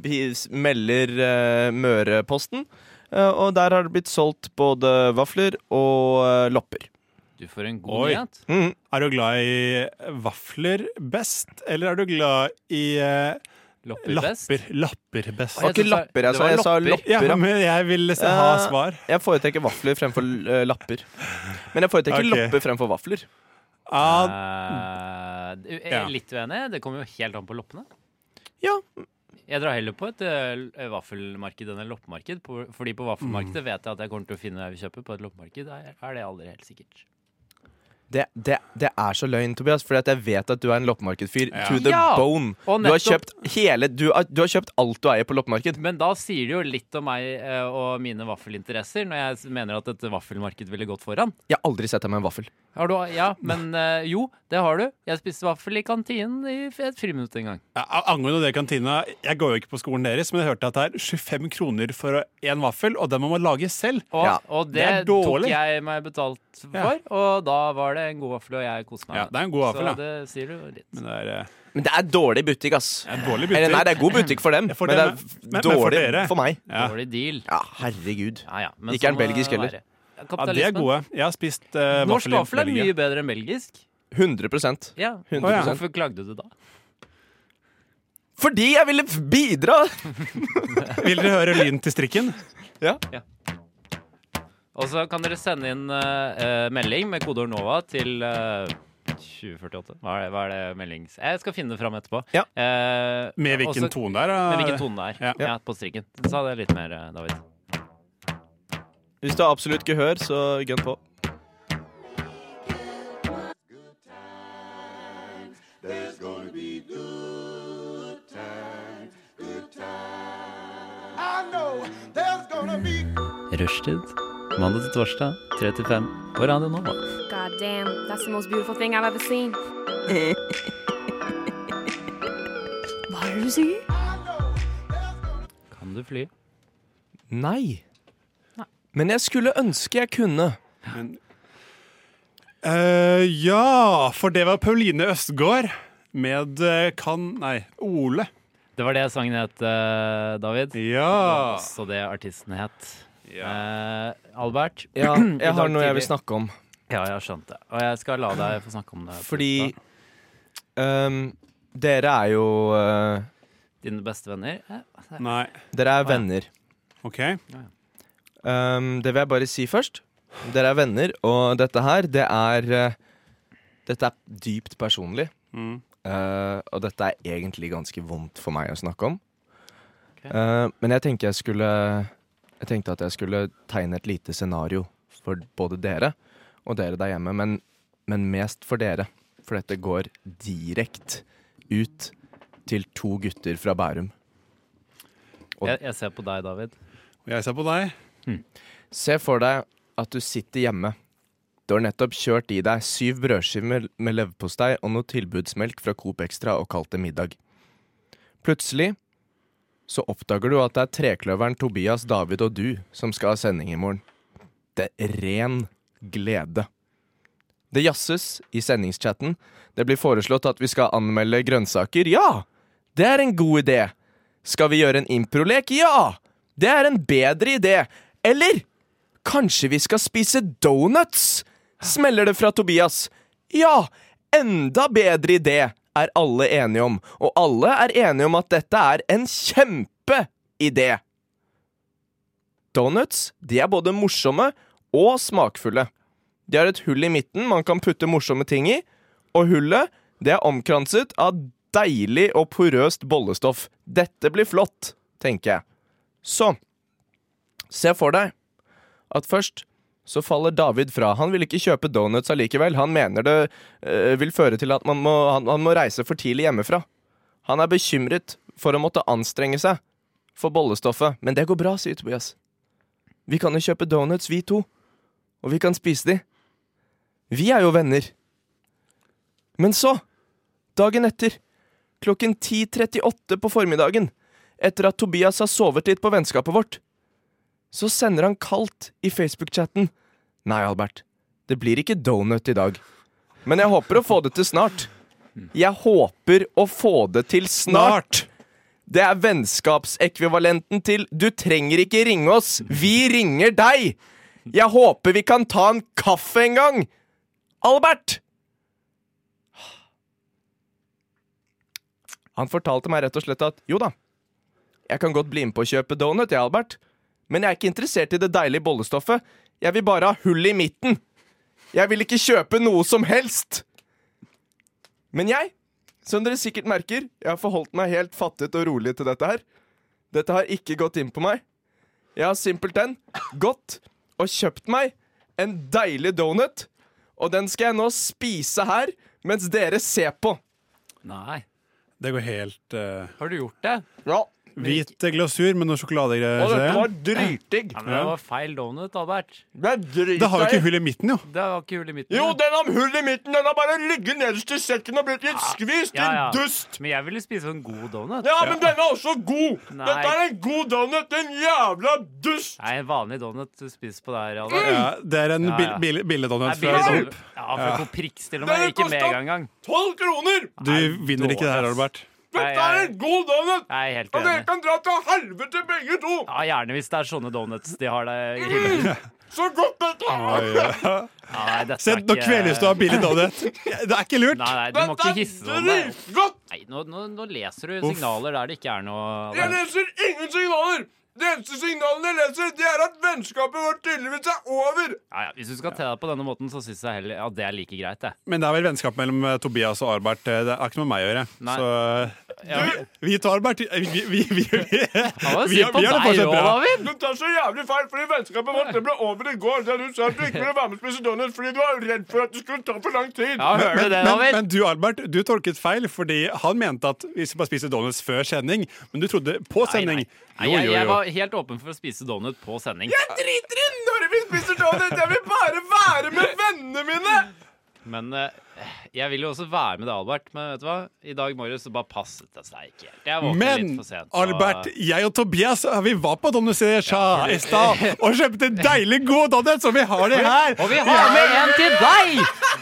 Speaker 3: vi s- melder eh, Møreposten. Eh, og der har det blitt solgt både vafler og eh, lopper.
Speaker 1: Du får en god
Speaker 2: Oi.
Speaker 1: nyhet.
Speaker 3: Mm.
Speaker 2: Er du glad i vafler best, eller er du glad i eh,
Speaker 1: Lopper best?
Speaker 2: Lapper. Lapper best.
Speaker 1: Å,
Speaker 3: Og
Speaker 1: jeg
Speaker 3: ikke
Speaker 1: synes det-
Speaker 3: lapper, jeg
Speaker 1: det
Speaker 3: sa.
Speaker 1: var
Speaker 3: Jeg sa
Speaker 1: lopper.
Speaker 2: Ja,
Speaker 3: lopper. ja.
Speaker 2: men jeg vil se, ha
Speaker 3: Eh,
Speaker 2: svar.
Speaker 3: Jeg foretrekker vafler fremfor eh, lapper. Men jeg foretrekker
Speaker 2: Ok.
Speaker 3: lopper fremfor vafler.
Speaker 2: Ja,
Speaker 1: Eh, du er
Speaker 2: Ja.
Speaker 1: litt uenig. Det kommer jo helt an på loppene.
Speaker 3: Ja.
Speaker 1: Jeg drar heller på et eh, vaffelmarked enn et loppemarked. På, fordi på
Speaker 2: Mm.
Speaker 1: vaffelmarkedet vet jeg at jeg kommer til å finne det jeg vil kjøpe. På et loppemarked er, er det aldri helt sikkert.
Speaker 3: Det, det, det er så løgn, Tobias, fordi at jeg vet at du er en loppemarkedfyr
Speaker 2: Ja.
Speaker 3: to the
Speaker 1: Ja.
Speaker 3: bone.
Speaker 1: Og
Speaker 3: Du har,
Speaker 1: nettopp-
Speaker 3: kjøpt hele, du, har, du har kjøpt alt du eier på loppemarked.
Speaker 1: Men da sier det jo litt om meg eh, og mine vaffelinteresser når jeg s- mener at et vaffelmarked ville gått foran.
Speaker 3: Jeg har aldri sett deg med en vaffel.
Speaker 1: Har du, ja, men eh, jo, det har du. Jeg spiste vaffel i kantinen i f- et friminutt en gang.
Speaker 2: Ja, Angående det i kantina, jeg går jo ikke på skolen deres, men jeg hørte at det er 25 kroner for én vaffel, og den må man lage selv.
Speaker 1: Og,
Speaker 3: Ja,
Speaker 1: og det,
Speaker 2: det er
Speaker 1: tok
Speaker 2: dårlig.
Speaker 1: jeg meg betalt for,
Speaker 2: Ja.
Speaker 1: og da var det en god vaffel, og jeg koste meg.
Speaker 2: Ja, det er en god vaffel,
Speaker 1: Så
Speaker 2: da.
Speaker 1: det sier du jo litt.
Speaker 2: Men det er, eh,
Speaker 3: Men det er dårlig butikk, ass.
Speaker 2: det er en dårlig
Speaker 3: Eller nei,
Speaker 2: butikk.
Speaker 3: det er god butikk for dem,
Speaker 2: Ja, for
Speaker 3: men det
Speaker 2: dem,
Speaker 3: er f-
Speaker 2: men- men for
Speaker 3: dårlig
Speaker 2: dere.
Speaker 3: for meg.
Speaker 2: Ja.
Speaker 1: Dårlig deal.
Speaker 3: Ja, herregud.
Speaker 1: Ja, ja,
Speaker 3: Ikke er den
Speaker 1: må det
Speaker 3: belgisk heller.
Speaker 1: være.
Speaker 2: Ja, de er
Speaker 1: Kapitalismen.
Speaker 2: gode. Jeg har spist uh,
Speaker 1: Norsk
Speaker 2: vaffel i
Speaker 1: vaffel er
Speaker 2: Belgia.
Speaker 1: mye bedre enn belgisk.
Speaker 3: 100
Speaker 1: Ja.
Speaker 3: 100%.
Speaker 1: Hvorfor klagde du da?
Speaker 3: Fordi jeg ville f- bidra!
Speaker 2: Vil dere høre lyden til strikken?
Speaker 1: Og så kan dere sende inn eh, eh, melding med kodeord NOVA til eh, 2048. Hva er det, hva er det meldings... Jeg skal finne det fram etterpå.
Speaker 3: Ja.
Speaker 1: Eh,
Speaker 2: Med
Speaker 1: og
Speaker 2: hvilken
Speaker 1: så-
Speaker 2: tone der?
Speaker 1: Med hvilken tone det er.
Speaker 2: Ja.
Speaker 1: Ja. på strikken. Så hadde jeg litt mer, eh, David.
Speaker 3: Hvis du har absolutt gehør, så gønn på.
Speaker 1: Rushtid. Mandag til torsdag, 3 til 5 på Radio Nova.
Speaker 4: God damn, that's the most beautiful thing I've ever seen. Hva er det du sier?
Speaker 1: Kan du fly?
Speaker 3: Nei. Men jeg skulle ønske jeg kunne.
Speaker 2: Eh, ja, for det var Pauline Østgaard med eh, Kan Nei, Ole.
Speaker 1: Det var det sangen het, eh, David.
Speaker 2: Ja.
Speaker 1: Så det artisten het. Eh, Albert, (clears throat)
Speaker 3: Ja, jeg har
Speaker 1: dag
Speaker 3: noe jeg vil
Speaker 1: tidlig.
Speaker 3: snakke om.
Speaker 1: ja, jeg har skjønt det. Og jeg skal la deg få snakke om det. på
Speaker 3: Fordi
Speaker 1: torsdag.
Speaker 3: ehm, dere er jo eh,
Speaker 1: Dine bestevenner? eh,
Speaker 2: Nei.
Speaker 3: Dere er
Speaker 1: ja.
Speaker 3: venner.
Speaker 2: OK.
Speaker 3: Ehm, det vil jeg bare si først. Dere er venner, og dette her, det er eh, Dette er dypt personlig.
Speaker 2: Mm.
Speaker 3: Eh, og dette er egentlig ganske vondt for meg å snakke om.
Speaker 1: Ok.
Speaker 3: Eh, men jeg tenker jeg skulle Jeg tenkte at jeg skulle tegne et lite scenario for både dere og dere der hjemme, men, men mest for dere. For dette går direkte ut til to gutter fra Bærum. Og-
Speaker 1: Jeg, jeg ser på deg, David.
Speaker 2: Og jeg ser på deg.
Speaker 3: Se for deg at du sitter hjemme. Du har nettopp kjørt i deg syv brødskiver med, med leverpostei og noe tilbudsmelk fra Coop Extra og kalt det middag. Plutselig så oppdager du at det er trekløveren Tobias, David og du som skal ha sending i morgen. Det er ren glede. Det jazzes i sendingschatten. Det blir foreslått at vi skal anmelde grønnsaker. Ja! Det er en god idé! Skal vi gjøre en improlek? Ja! Det er en bedre idé! Eller kanskje vi skal spise donuts? Smeller det fra Tobias. Ja! Enda bedre idé, er alle enige om. Og alle er enige om at dette er en kjempeidé. Donuts de er både morsomme og smakfulle. De har et hull i midten man kan putte morsomme ting i, og hullet det er omkranset av deilig og porøst bollestoff. Dette blir flott, tenker jeg. Så Se for deg at først så faller David fra. Han vil ikke kjøpe donuts allikevel. Han mener det eh, vil føre til at man må, han, han må reise for tidlig hjemmefra. Han er bekymret for å måtte anstrenge seg for bollestoffet. Men det går bra, sier Tobias. Vi kan jo kjøpe donuts, vi to. Og vi kan spise de. Vi er jo venner. Men så, dagen etter, klokken 10.38 på formiddagen, etter at Tobias har sovet litt på vennskapet vårt, så sender han kaldt i Facebook-chatten. Nei, Albert, det blir ikke donut i dag. Men jeg håper å få det til snart. Jeg håper å få det til snart! Det er vennskapsekvivalenten til 'du trenger ikke ringe oss, vi ringer deg'. Jeg håper vi kan ta en kaffe en gang! Albert! Han fortalte meg rett og slett at jo da, jeg kan godt bli med på å kjøpe donut, jeg, Albert, men jeg er ikke interessert i det deilige bollestoffet. Jeg vil bare ha hull i midten. Jeg vil ikke kjøpe noe som helst. Men jeg, som dere sikkert merker, jeg har forholdt meg helt fattet og rolig til dette her. Dette har ikke gått inn på meg. Jeg har simpelthen gått og kjøpt meg en deilig donut, og den skal jeg nå spise her mens dere ser på.
Speaker 1: Nei.
Speaker 2: Det går helt eh,
Speaker 1: Har du gjort det?
Speaker 3: Ja.
Speaker 2: Hvit glasur med noe sjokoladegreier.
Speaker 3: Og
Speaker 2: ser
Speaker 3: dette
Speaker 2: jeg.
Speaker 3: var dritdigg.
Speaker 1: Ja, men det var feil donut, Albert.
Speaker 3: Det er dritdigg.
Speaker 2: Det har jo ikke hull i midten, jo.
Speaker 1: Det var ikke hull i midten.
Speaker 3: Jo, den har hull i midten. Den har bare ligget nederst i sekken og blitt litt skvist. Din
Speaker 1: Ah, Ja, ja.
Speaker 3: dust.
Speaker 1: Men jeg ville spise en god donut.
Speaker 3: Ja, men den er også god.
Speaker 1: Nei.
Speaker 3: Dette er en god donut. En jævla dust.
Speaker 1: Nei, en vanlig donut du spiser på der, Albert.
Speaker 2: Ja, det er en
Speaker 1: Ja, ja.
Speaker 2: bill- bill-
Speaker 1: Nei,
Speaker 2: billedonut
Speaker 1: billig
Speaker 2: fra
Speaker 1: donut.
Speaker 2: Coop.
Speaker 1: Ja, for å få priks til og
Speaker 3: Den
Speaker 1: med. Ikke
Speaker 3: kostet-
Speaker 1: mega engang.
Speaker 3: Tolv kroner.
Speaker 2: Du vinner ikke det her, Albert.
Speaker 1: Nei,
Speaker 3: Dette er
Speaker 1: jeg,
Speaker 3: en god donut.
Speaker 1: jeg er helt
Speaker 3: Og dere
Speaker 1: enig.
Speaker 3: kan dra til helvete begge to.
Speaker 1: Ja, Gjerne hvis det er sånne donuts de har der. i
Speaker 3: Mm.
Speaker 1: hyllen.
Speaker 3: Så godt dette er.
Speaker 2: (laughs)
Speaker 1: Ja, nei, dette
Speaker 2: Se,
Speaker 1: er
Speaker 2: nå
Speaker 1: ikke-
Speaker 2: kveles du av
Speaker 1: (laughs)
Speaker 2: billig donut. Det er ikke lurt.
Speaker 1: Nei, nei, du må ikke
Speaker 3: Dette er
Speaker 1: hisse deg. om det.
Speaker 3: dritgodt.
Speaker 1: Nei, nå, nå, nå leser du signaler der det ikke er noe
Speaker 3: Jeg leser ingen signaler. Det eneste signalene jeg leser, det er at vennskapet vårt tydeligvis er over.
Speaker 1: ja, ja, Hvis du skal te deg på denne måten, så syns jeg heller ja, det er like greit, jeg.
Speaker 2: Men det er vel vennskap mellom eh, Tobias og Albert. eh, Det har ikke noe med meg å gjøre.
Speaker 1: Nei.
Speaker 2: Så
Speaker 1: Ja,
Speaker 2: eh, vi tar Albert. eh, Vi, vi, vi, vi,
Speaker 1: (laughs)
Speaker 2: vi, (laughs)
Speaker 1: Han var
Speaker 2: vi
Speaker 1: sint
Speaker 2: har
Speaker 1: på
Speaker 2: det
Speaker 1: deg
Speaker 2: fortsatt
Speaker 1: òg,
Speaker 2: bra.
Speaker 1: David!
Speaker 3: Du tar så jævlig feil, fordi vennskapet vårt det ble over i går. Da du sa at du ikke ville være med og spise donuts fordi du var redd for at det skulle ta for lang tid.
Speaker 1: Ja, hører du det,
Speaker 2: (laughs) Men,
Speaker 1: David?
Speaker 2: men du, Albert, du tolket feil, fordi han mente at vi skal bare spise donuts før sending. Men du trodde på sending.
Speaker 1: Nei,
Speaker 2: Jo,
Speaker 1: jeg,
Speaker 2: jo,
Speaker 1: jeg
Speaker 2: jo.
Speaker 1: var helt åpen for å spise donut på sending,
Speaker 3: Jeg driter i når vi spiser donuts! Jeg vil bare være med vennene mine!
Speaker 1: men eh, jeg vil jo også være med deg, Albert. Men vet du hva? I dag morges så bare passet det seg ikke helt. Jeg våknet
Speaker 2: Men
Speaker 1: litt for sent. og-
Speaker 2: Albert, jeg og Tobias eh, vi var på Donuts i Sja i stad
Speaker 1: (laughs)
Speaker 2: og kjøpte deilig god donuts, og vi har det her!
Speaker 1: Og vi har med en til deg!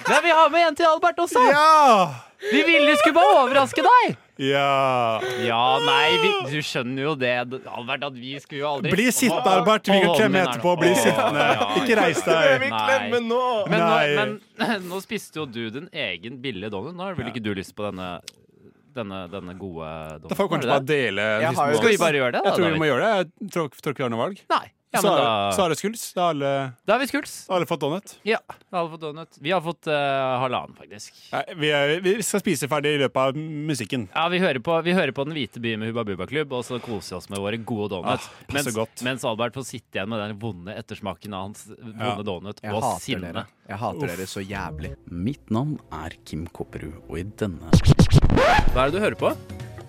Speaker 1: Nei, vi har med en til Albert også!
Speaker 2: Ja!
Speaker 1: Vi ville skulle bare overraske deg!
Speaker 2: ja.
Speaker 1: Ja, nei, vi, du skjønner jo det, Albert, at vi skulle jo aldri
Speaker 2: Bli sittende, Albert. Vi kan klemme etterpå. Bli sittende. Ikke reis
Speaker 3: Jeg
Speaker 2: deg.
Speaker 3: vil
Speaker 1: Nei.
Speaker 3: klemme nå.
Speaker 1: Men nå,
Speaker 2: Nei.
Speaker 1: men (clears throat) nå spiste jo du din egen billige donut. Nå har vel ikke du lyst på denne, denne, denne gode donuten?
Speaker 2: Da får vi kanskje
Speaker 1: har
Speaker 2: bare
Speaker 1: du det?
Speaker 2: dele
Speaker 3: Jeg har jo-
Speaker 1: Skal vi bare gjøre det, da?
Speaker 2: Jeg tror vi
Speaker 1: David?
Speaker 2: må gjøre det. Jeg tror tror ikke vi har noe valg.
Speaker 1: Nei. Ja, men da,
Speaker 2: Sare Sare Skuls. Da har alle,
Speaker 1: da har vi skuls.
Speaker 2: da har alle fått donut.
Speaker 1: Ja, da har vi fått donut. Vi har fått eh, halvannen, faktisk.
Speaker 2: Nei, vi, er, vi skal spise ferdig i løpet av musikken.
Speaker 1: Ja, vi hører, på, vi hører på Den hvite by med Hubba Bubba Klubb, og så koser vi oss med våre gode donuts.
Speaker 2: Ah, passer godt.
Speaker 1: mens Albert får sitte igjen med den vonde ettersmaken av hans vonde
Speaker 2: Ja.
Speaker 1: donut og sinne.
Speaker 5: Jeg hater dere så jævlig.
Speaker 6: Mitt navn er Kim Kopperud, og i denne
Speaker 1: Hva er det du hører på?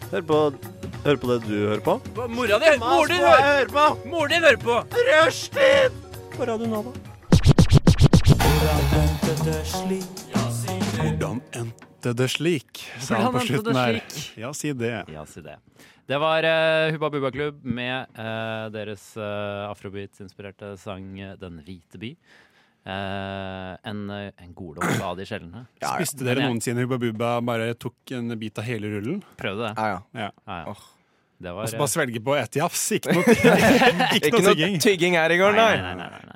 Speaker 7: Hør på, hør på det du hører på.
Speaker 1: Mora di! Mor din hører på! Mor din hører på!
Speaker 7: På Radio Nova.
Speaker 2: Hvordan endte det slik? sa han på
Speaker 1: Hvordan endte det
Speaker 2: slutten her.
Speaker 1: slik?
Speaker 2: Ja, si det.
Speaker 1: Ja, si det. Det var eh, Hubba Bubba Klubb med eh, deres eh, afrobeat-inspirerte sang eh, Den hvite by. Eh, en eh, en god låt av de sjeldne.
Speaker 2: Spiste dere
Speaker 1: Men jeg-
Speaker 2: noensinne Hubba Bubba bare tok en bit av hele rullen?
Speaker 1: Prøv det.
Speaker 3: Ja, ja.
Speaker 2: Ja.
Speaker 1: Ja, ja. Det
Speaker 2: Og
Speaker 1: var
Speaker 2: så
Speaker 1: eh,
Speaker 2: bare svelge på ett jafs?
Speaker 1: (laughs)
Speaker 2: Ikke noe, (laughs) ikke
Speaker 3: Ikke
Speaker 2: noe
Speaker 3: noe
Speaker 2: tygging?
Speaker 3: tygging her i går,
Speaker 1: Nei,
Speaker 3: nei.
Speaker 1: nei, nei. nei, nei.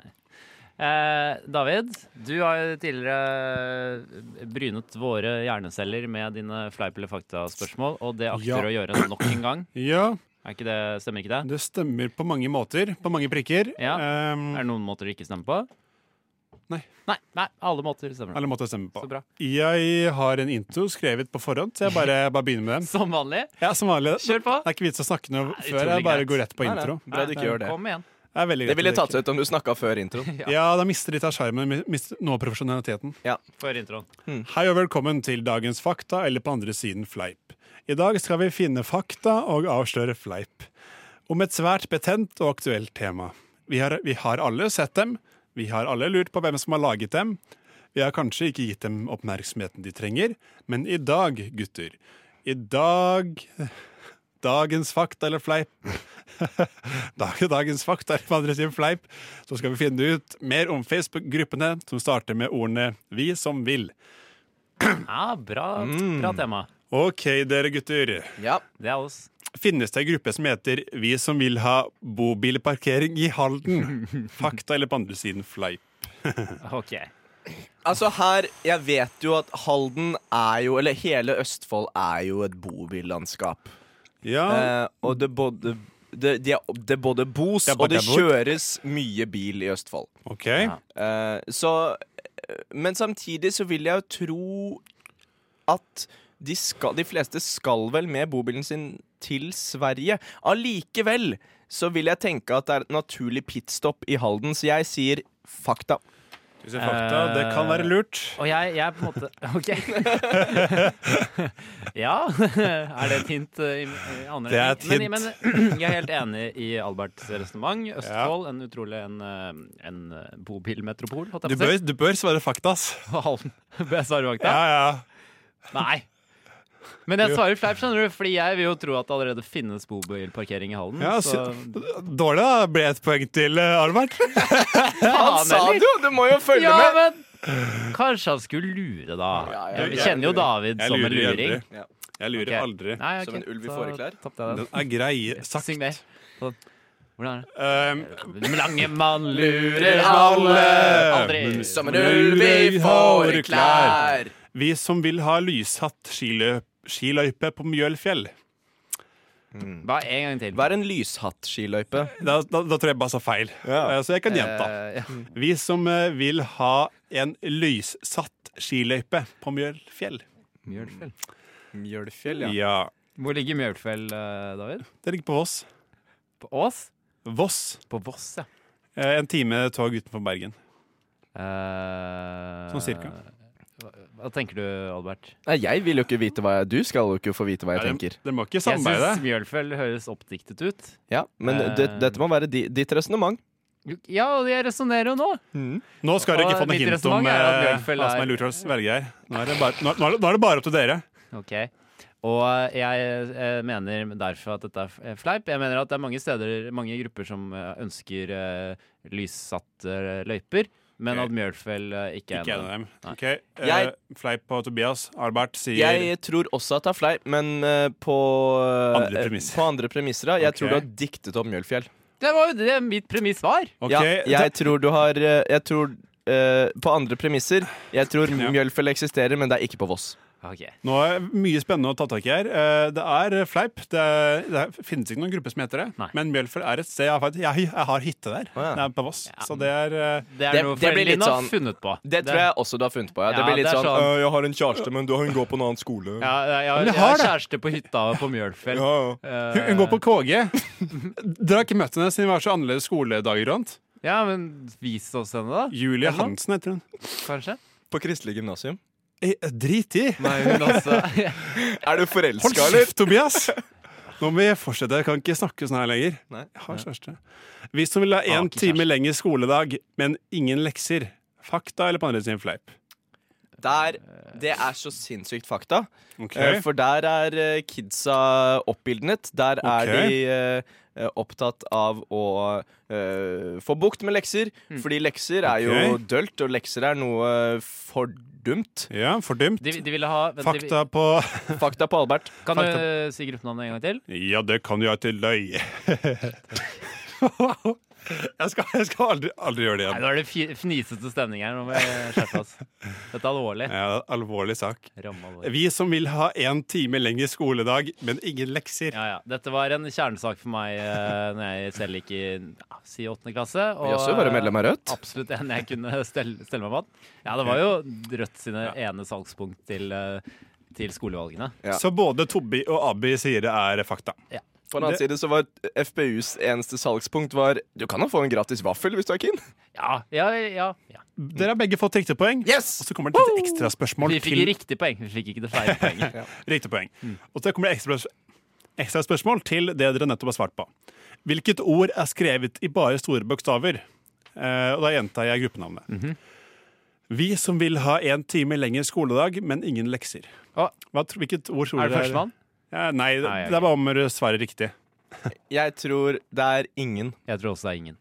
Speaker 1: Eh, David, du har jo tidligere eh, brynet våre hjerneceller med dine fleip eller fakta-spørsmål, og det akter
Speaker 2: Ja.
Speaker 1: å gjøre nok en gang.
Speaker 2: Ja,
Speaker 1: Er ikke det, stemmer ikke det?
Speaker 2: det stemmer på mange måter. På mange prikker.
Speaker 1: Ja.
Speaker 2: Ehm,
Speaker 1: Er det noen måter du ikke stemmer på?
Speaker 2: Nei.
Speaker 1: Nei, nei alle måter stemmer.
Speaker 2: eller måte å stemme på.
Speaker 1: Så bra.
Speaker 2: Jeg har en intro skrevet på forhånd, så jeg bare, bare begynner med den.
Speaker 1: Som vanlig.
Speaker 2: Ja, som vanlig. Det
Speaker 1: Kjør på.
Speaker 2: er ikke vits å snakke noe
Speaker 1: Nei,
Speaker 2: før.
Speaker 1: utrolig
Speaker 2: Jeg bare
Speaker 1: greit.
Speaker 2: går rett på
Speaker 3: Nei, nei.
Speaker 2: intro.
Speaker 3: Bra du ikke gjør det.
Speaker 1: Kom igjen.
Speaker 2: Det er veldig greit.
Speaker 3: Det ville
Speaker 2: at
Speaker 3: tatt
Speaker 2: dere-
Speaker 3: seg ut om du snakka før
Speaker 1: (laughs)
Speaker 3: introen.
Speaker 2: Ja, da mister de litt av sjarmen. mister Noe av profesjonaliteten.
Speaker 1: Før introen.
Speaker 2: Hei og velkommen til dagens fakta, eller på andre siden fleip. I dag skal vi finne fakta og avsløre fleip. Om et svært betent og aktuelt tema. Vi har, vi har alle sett dem, vi har alle lurt på hvem som har laget dem. Vi har kanskje ikke gitt dem oppmerksomheten de trenger, men i dag, gutter I dag Dagens fakta eller fleip. (laughs) Dag, dagens fakta eller på andre siden fleip. Så skal vi finne ut mer om Facebook-gruppene som starter med ordene 'Vi som vil'.
Speaker 1: Ja, Ah, bra, bra
Speaker 3: Mm.
Speaker 1: tema.
Speaker 2: Ok, dere gutter.
Speaker 3: Ja.
Speaker 1: Det er oss.
Speaker 2: Finnes det en gruppe som heter Vi som vil ha (laughs) bobilparkering i Halden? Fakta eller på andre siden fleip?
Speaker 1: OK.
Speaker 3: Altså her, Jeg vet jo at Halden er jo Eller hele Østfold er jo et bobillandskap.
Speaker 2: Ja,
Speaker 3: Eh, og det både det, det, det både bos
Speaker 2: Det er
Speaker 3: og det
Speaker 2: både bor.
Speaker 3: kjøres mye bil i Østfold.
Speaker 2: OK.
Speaker 3: Eh, så eh, Men samtidig så vil jeg jo tro at de, skal, de fleste skal vel med bobilen sin til Sverige. Allikevel så vil jeg tenke at det er et naturlig pitstop i Halden, så jeg sier fakta.
Speaker 2: Du ser fakta. Det kan være lurt.
Speaker 1: Og jeg, jeg er på en måte (laughs) OK. (laughs) ja, er det et hint? eh, i- i andre
Speaker 2: Det er et
Speaker 1: retning?
Speaker 2: hint.
Speaker 1: Men, men (clears throat) jeg er helt enig i Alberts resonnement. Østfold, en utrolig en, eh, en eh, bobilmetropol, holdt
Speaker 2: Du
Speaker 1: jeg på
Speaker 2: bør,
Speaker 1: å si. (laughs)
Speaker 2: du bør svare fakta, ass.
Speaker 1: Halden. Bør jeg svare bak
Speaker 2: Ja,
Speaker 1: deg?
Speaker 2: ja.
Speaker 1: Nei. Men jeg
Speaker 2: Jo.
Speaker 1: svarer fleip, skjønner du, fordi jeg vil jo tro at det allerede finnes bobilparkering i Halden.
Speaker 2: ja
Speaker 1: så (laughs)
Speaker 2: så, dårlig, da. Ble et poeng til eh, Albert.
Speaker 1: Faen,
Speaker 3: Han sa
Speaker 1: eller?
Speaker 3: det jo! Du må jo følge
Speaker 1: Ja,
Speaker 3: med!
Speaker 1: men kanskje han skulle lure, da.
Speaker 3: Ja, ja,
Speaker 1: Vi
Speaker 2: jeg
Speaker 1: kjenner jo
Speaker 3: lurer.
Speaker 1: David
Speaker 2: Jeg
Speaker 1: som en
Speaker 2: lurer
Speaker 1: luring.
Speaker 2: aldri. Jeg lurer
Speaker 1: Ok.
Speaker 2: aldri.
Speaker 1: Nei, ok,
Speaker 3: Som en ulv i
Speaker 1: så
Speaker 3: fåreklær.
Speaker 1: tapte jeg den.
Speaker 2: Den er grei
Speaker 1: (laughs)
Speaker 2: sagt.
Speaker 1: Signer. Sånn. Hvordan er det?
Speaker 2: Um,
Speaker 1: Lange mann
Speaker 3: lurer
Speaker 1: lurer
Speaker 3: alle.
Speaker 1: alle.
Speaker 2: Men-
Speaker 1: Aldri.
Speaker 2: Som en ulv i fåreklær.
Speaker 3: fåreklær.
Speaker 2: vi som vil ha lyshatt skiløp, skiløype på Mjølfjell.
Speaker 1: Bare en gang til.
Speaker 3: Hva er en lyshatt-skiløype?
Speaker 2: Da, da, da tror jeg bare sa feil.
Speaker 3: Ja.
Speaker 2: Eh, Så jeg kan gjenta.
Speaker 1: Eh, ja.
Speaker 2: Vi som eh, vil ha en lyssatt skiløype på Mjølfjell.
Speaker 1: Mjølfell.
Speaker 3: Mjølfjell,
Speaker 2: Ja.
Speaker 1: Hvor ligger Mjølfell, eh, David?
Speaker 2: Det ligger på Voss.
Speaker 1: På Ås?
Speaker 2: Voss.
Speaker 1: På Voss, ja.
Speaker 2: Eh, En time tog utenfor Bergen.
Speaker 1: Eh,
Speaker 2: Sånn cirka.
Speaker 1: hva- Hva tenker du, Albert?
Speaker 3: Nei, jeg vil jo ikke vite hva jeg Du skal jo ikke få vite hva jeg
Speaker 2: Dere
Speaker 3: tenker.
Speaker 2: dere må ikke
Speaker 1: Jeg
Speaker 2: samarbeide.
Speaker 1: syns Mjølfell høres oppdiktet ut.
Speaker 3: Ja, Men
Speaker 1: Eh.
Speaker 3: det, dette må være di, ditt resonnement.
Speaker 1: Ja, og jeg resonnerer jo nå.
Speaker 2: Nå skal dere ikke få
Speaker 1: Og
Speaker 2: noe
Speaker 1: mitt
Speaker 2: hint
Speaker 1: resonnement
Speaker 2: om
Speaker 1: er at
Speaker 2: eh, hva
Speaker 1: Mjølfell
Speaker 2: som er
Speaker 1: er-
Speaker 2: lurt hos velger her. Nå er det bare, nå, nå er det- nå er det bare opp til dere.
Speaker 1: Ok. Og jeg eh, mener derfor at dette er f- eh, fleip. Jeg mener at det er mange steder, mange grupper som eh, ønsker eh, lyssatte eh, løyper, men
Speaker 2: Ok.
Speaker 1: at Mjølfell eh, ikke er
Speaker 2: Ikke en av
Speaker 1: en av dem.
Speaker 2: dem.
Speaker 1: Nei.
Speaker 2: Ok, eh,
Speaker 3: Jeg-
Speaker 2: Fleip på Tobias. Albert sier
Speaker 3: Jeg tror også at det er fleip, men eh, på eh,
Speaker 2: Andre premisser.
Speaker 3: På andre premisser ja. Jeg
Speaker 2: Ok.
Speaker 3: tror du har diktet om Mjølfjell.
Speaker 1: Det var jo det mitt premiss var!
Speaker 2: Ok,
Speaker 3: Ja,
Speaker 2: da-
Speaker 3: jeg tror du har eh, Jeg tror eh, på andre premisser. Jeg tror Mjølfjell eksisterer, men det er ikke på Voss.
Speaker 1: Ok.
Speaker 2: Nå er det mye spennende å ta tak i her. Eh, Det er fleip. Det, er, det er- finnes ikke noen gruppe som heter det.
Speaker 1: Nei.
Speaker 2: Men Mjølfer er et sted. Jeg, har faktisk- jeg, jeg har hytte der.
Speaker 3: Å, ja.
Speaker 2: Det er på Voss.
Speaker 1: Ja.
Speaker 2: Så det er eh,
Speaker 1: Det er
Speaker 3: Det-
Speaker 1: noe
Speaker 3: det blir litt
Speaker 1: foreldrene har
Speaker 3: sånn-
Speaker 1: funnet på.
Speaker 3: Det tror jeg også du har funnet på. Ja. Det
Speaker 1: Ja,
Speaker 3: blir litt
Speaker 1: det er
Speaker 3: sånn,
Speaker 1: sånn.
Speaker 3: «Øh, Jeg har en kjæreste, men du- hun går på en annen skole.
Speaker 1: Ja, ja, ja,
Speaker 2: Men jeg
Speaker 1: jeg har
Speaker 2: har det.
Speaker 1: kjæreste på hytta på Mjølfell.
Speaker 3: Ja,
Speaker 1: Eh.
Speaker 2: Hun, hun går på KG. (laughs) Dere har ikke møtt henne siden vi var så annerledes skoledager rundt.
Speaker 1: Ja, men vis oss henne, da.
Speaker 2: Julie
Speaker 1: Eller noe?
Speaker 2: Hansen heter hun.
Speaker 1: Kanskje.
Speaker 3: På Kristelig gymnasium.
Speaker 2: Eh, Drit i!
Speaker 1: Nei, hun også.
Speaker 3: Er du
Speaker 2: Hold
Speaker 3: forelska, eller?
Speaker 2: kjeft, Tobias! Nå må vi fortsette. Jeg kan ikke snakke sånn her lenger.
Speaker 3: Nei.
Speaker 2: Jeg har kjæreste. Vi som vil ha
Speaker 1: Har
Speaker 2: én
Speaker 1: ikke
Speaker 2: time
Speaker 1: kjæreste.
Speaker 2: lengre skoledag, men ingen lekser. Fakta eller på andre siden fleip?
Speaker 3: Der, det er så sinnssykt fakta.
Speaker 2: Ok.
Speaker 3: Eh, For der er eh, kidsa oppildnet. Der
Speaker 2: Ok.
Speaker 3: er de eh, eh, opptatt av å eh, få bukt med lekser. Fordi lekser er jo
Speaker 2: Ok.
Speaker 3: dølt, og lekser er noe
Speaker 2: (laughs)
Speaker 3: fordumt.
Speaker 2: Ja, fordumt.
Speaker 1: (laughs) De, de ville ha vent, de,
Speaker 2: Fakta på (laughs)
Speaker 3: Fakta på Albert.
Speaker 1: Kan du eh, si gruppenavnet en gang til?
Speaker 2: Ja, det kan jeg til løy. (laughs) jeg skal, jeg skal aldri, aldri gjøre det
Speaker 1: Nei,
Speaker 2: igjen.
Speaker 1: Nå er det fi- fnisete stemning her. Nå må jeg skjerpe oss. Dette er alvorlig.
Speaker 2: Ja, alvorlig sak.
Speaker 1: Ramme alvorlig.
Speaker 2: Vi som vil ha én time lengre skoledag, men ingen lekser.
Speaker 1: Ja, ja. Dette var en kjernesak for meg eh, når jeg selv gikk i ja, si åttende klasse. Og eh,
Speaker 3: Vi også var medlem av Rødt.
Speaker 1: absolutt en jeg kunne stelle, stelle meg bak. Ja, det var jo Rødt sine ene salgspunkt til, eh, til skolevalgene.
Speaker 3: Ja.
Speaker 2: Så både Tobbi og Abi sier det er fakta.
Speaker 3: På den annen side så var FPUs eneste salgspunkt var Du kan da få en gratis vaffel hvis du er keen.
Speaker 1: Ja, ja, ja. ja.
Speaker 2: Dere har begge fått riktig poeng.
Speaker 3: Yes!
Speaker 2: Og så kommer det et lite ekstraspørsmål
Speaker 1: Vi fikk
Speaker 2: til
Speaker 1: riktig poeng, vi fikk ikke det
Speaker 5: (laughs)
Speaker 1: feil poenget.
Speaker 2: riktig poeng.
Speaker 1: Mm.
Speaker 2: Og så kommer det ekstra, ekstra spørsmål til det dere nettopp har svart på. Hvilket ord er skrevet i bare store bokstaver? Eh, og da gjentar jeg gruppenavnet.
Speaker 1: Mhm.
Speaker 2: Vi som vil ha én time lengre skoledag, men ingen lekser.
Speaker 1: Å.
Speaker 2: Hva, tro- hvilket ord tror
Speaker 1: Er det
Speaker 2: dere
Speaker 1: førstemann?
Speaker 2: Ja, nei, det,
Speaker 1: Nei, jeg-
Speaker 2: det er bare om du svarer riktig.
Speaker 3: Jeg tror det er ingen.
Speaker 1: Jeg tror også det er ingen.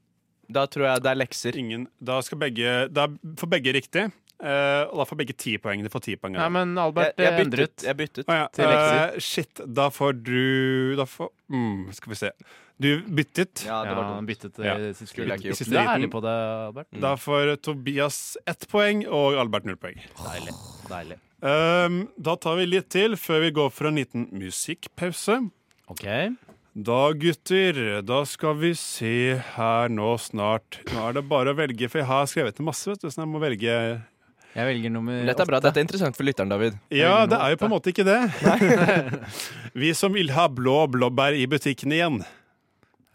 Speaker 3: Da tror jeg det er lekser.
Speaker 2: Ingen, da skal begge Da får begge riktig. Eh, og da får begge ti poeng. Du får ti poeng.
Speaker 1: Nei, men
Speaker 5: Jeg,
Speaker 1: Albert
Speaker 5: jeg
Speaker 1: eh,
Speaker 5: byttet.
Speaker 1: endret.
Speaker 5: Jeg byttet.
Speaker 2: Å ja.
Speaker 5: til lekser.
Speaker 2: eh, shit, da får du Da får mm, Skal vi se. Du byttet.
Speaker 5: Ja, det
Speaker 1: Ja,
Speaker 5: var
Speaker 1: han
Speaker 5: dumt.
Speaker 1: byttet
Speaker 2: Ja.
Speaker 1: ja. siste
Speaker 5: Skulle jeg ikke
Speaker 1: liten.
Speaker 5: gjort.
Speaker 1: Du er ærlig på det, Albert.
Speaker 2: Da får Tobias ett poeng og Albert null poeng.
Speaker 1: Deilig. Deilig.
Speaker 2: Ehm, da tar vi litt til før vi går for en liten musikkpause.
Speaker 1: OK.
Speaker 2: Da, gutter, da skal vi se her nå snart. Nå er det bare å velge, for jeg har skrevet en masse, vet du, så jeg må velge.
Speaker 1: Jeg velger nummer
Speaker 5: Dette er bra. Dette er interessant for lytteren, David.
Speaker 2: Ja, det er jo på en måte ikke det. (laughs) vi som vil ha blå blåbær i butikken igjen.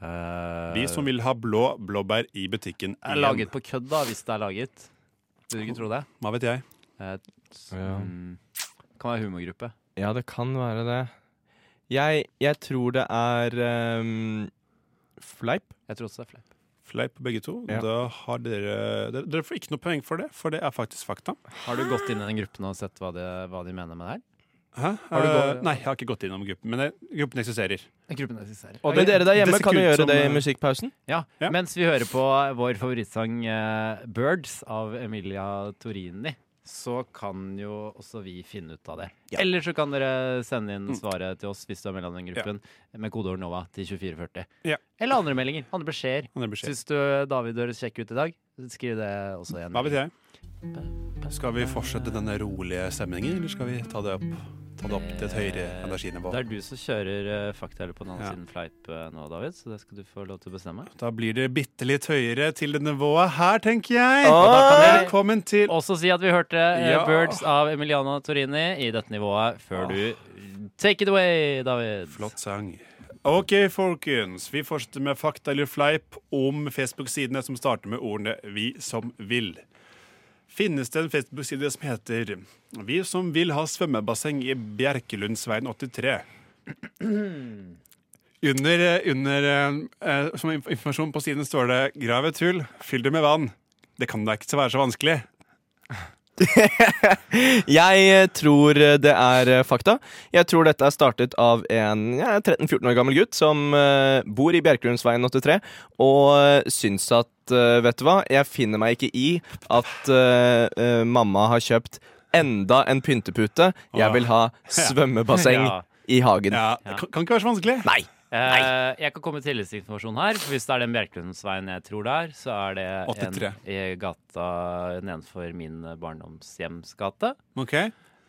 Speaker 1: Eh,
Speaker 2: Vi som vil ha blå blåbær i butikken
Speaker 1: er
Speaker 2: igjen.
Speaker 1: laget på kødd, da, hvis det er laget. Vil du ikke tro det?
Speaker 2: Hva vet jeg?
Speaker 1: Eh, s-
Speaker 5: Ja.
Speaker 1: mm, kan være humorgruppe.
Speaker 5: Ja, det kan være det. Jeg, jeg tror det er ehm, Fleip.
Speaker 1: Jeg tror også det er flere.
Speaker 2: Fleip begge to.
Speaker 5: Ja.
Speaker 2: Da har dere, dere Dere får ikke noe poeng for det, for det er faktisk fakta.
Speaker 1: Har du gått inn i den gruppen og sett hva de, hva de mener med det her?
Speaker 2: Hæ?
Speaker 1: Har du gått-
Speaker 2: Eh, nei, jeg har ikke gått innom gruppen, men det, gruppen eksisterer.
Speaker 1: Gruppen eksisterer.
Speaker 2: Og
Speaker 5: Men dere der hjemme
Speaker 2: det ser
Speaker 5: kan jo
Speaker 2: ikke ut
Speaker 5: gjøre
Speaker 2: som,
Speaker 5: det i
Speaker 2: eh,
Speaker 5: musikkpausen.
Speaker 1: Ja,
Speaker 2: Ja.
Speaker 1: Mens vi hører på vår favorittsang eh, 'Birds' av Emilia Torini, så kan jo også vi finne ut av det. Eller så kan dere sende inn
Speaker 2: Mm.
Speaker 1: svaret til oss hvis du er medlem i den gruppen, med kodeord NOVA til 2440.
Speaker 2: Ja.
Speaker 1: Eller andre meldinger. Andre beskjeder.
Speaker 2: Han er beskjed.
Speaker 1: Syns du David høres kjekk ut i dag? Skriv det også igjen.
Speaker 2: Hva vet jeg? Skal vi fortsette denne rolige stemningen, eller skal vi ta det opp, ta det opp til et høyere energinivå?
Speaker 1: Det er du som kjører eh, fakta eller på den andre
Speaker 2: Ja.
Speaker 1: siden fleip eh, nå, David, så det skal du få lov til å bestemme.
Speaker 2: Da blir det bitte litt høyere til det nivået her, tenker jeg.
Speaker 1: Og da kan dere
Speaker 2: Velkommen til
Speaker 1: også si at vi hørte eh,
Speaker 2: Ja.
Speaker 1: Birds av Emiliano Torini i dette nivået før du Take it away, David.
Speaker 2: Ah. Flott sang. OK, folkens. Vi fortsetter med fakta eller fleip om Facebook-sidene som starter med ordene 'Vi som vil'. Finnes det en Facebook-side som heter 'Vi som vil ha svømmebasseng i Bjerkelundsveien 83'? Under, under eh, eh, Som inf- informasjon på siden står det 'Grav et hull, fyll det med vann'. Det kan da ikke være så vanskelig.
Speaker 5: Jeg eh, tror eh, det er eh, fakta. Jeg tror dette er startet av en ja, 13-14 år gammel gutt som eh, bor i Bjerkelundsveien 83, og eh, syns at eh, Vet du hva, jeg finner meg ikke i at eh, eh, mamma har kjøpt enda en pyntepute. Jeg vil
Speaker 2: (laughs)
Speaker 5: ha svømmebasseng
Speaker 1: Ja.
Speaker 5: i hagen.
Speaker 2: Ja, det kan, kan ikke være så vanskelig.
Speaker 5: Nei!
Speaker 1: Eh, jeg kan komme med tilleggsinformasjon her. For hvis det er den Bjerklundsveien jeg tror det er, så er det en
Speaker 2: 83.
Speaker 1: i gata nedenfor min barndomshjemsgate.
Speaker 2: Ok,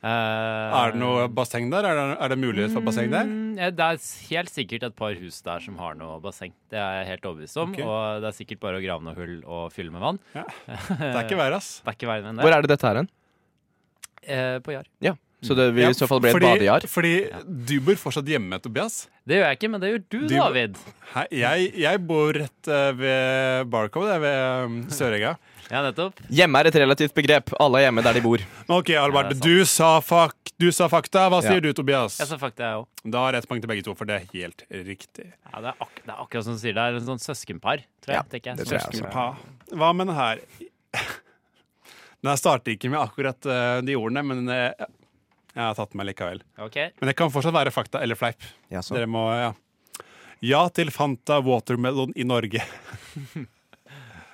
Speaker 1: Eh,
Speaker 2: Er det noe basseng der? Er det, er det mulighet for basseng der?
Speaker 1: Mm, ja, Det er s- helt sikkert et par hus der som har noe basseng. Det er jeg helt overbevist om.
Speaker 2: Ok.
Speaker 1: Og det er sikkert bare å grave noe hull og fylle med vann.
Speaker 2: Ja. Det er ikke verre, ass.
Speaker 1: Det er ikke verre enn
Speaker 5: Hvor
Speaker 1: det.
Speaker 5: er det dette her hen?
Speaker 1: Eh, på Jar.
Speaker 5: Ja. Så det vil
Speaker 2: Ja,
Speaker 5: i så fall bli et
Speaker 2: fordi-
Speaker 5: badejar.
Speaker 2: Fordi du bor fortsatt hjemme, Tobias.
Speaker 1: Det gjør jeg ikke, men det gjør du,
Speaker 2: Du-
Speaker 1: David.
Speaker 2: Hei, jeg, jeg bor rett eh, ved Barcode, jeg, ved um, Søregga.
Speaker 1: Ja, nettopp.
Speaker 5: Hjemme er et relativt begrep. Alle er hjemme der de bor.
Speaker 2: Men OK, Albert,
Speaker 1: Ja, det
Speaker 2: du, sa fak, du sa fakta. Hva
Speaker 5: Ja.
Speaker 2: sier du, Tobias?
Speaker 1: Jeg sa fakta, jeg òg.
Speaker 2: Da har jeg ett poeng til begge to, for det er helt riktig.
Speaker 1: Ja, det, er ak- det er akkurat som du sier. Det er en sånn søskenpar, tror jeg.
Speaker 5: Ja,
Speaker 1: tenker jeg.
Speaker 5: det tror jeg
Speaker 1: Søskenpar.
Speaker 2: Pa. Hva med den her? Den her starter ikke med akkurat eh, de ordene, men eh, jeg har tatt den med likevel.
Speaker 1: Ok.
Speaker 2: Men det kan fortsatt være fakta eller fleip.
Speaker 8: Ja, så.
Speaker 2: Dere må, ja. ja til Fanta Watermelon i Norge. (laughs)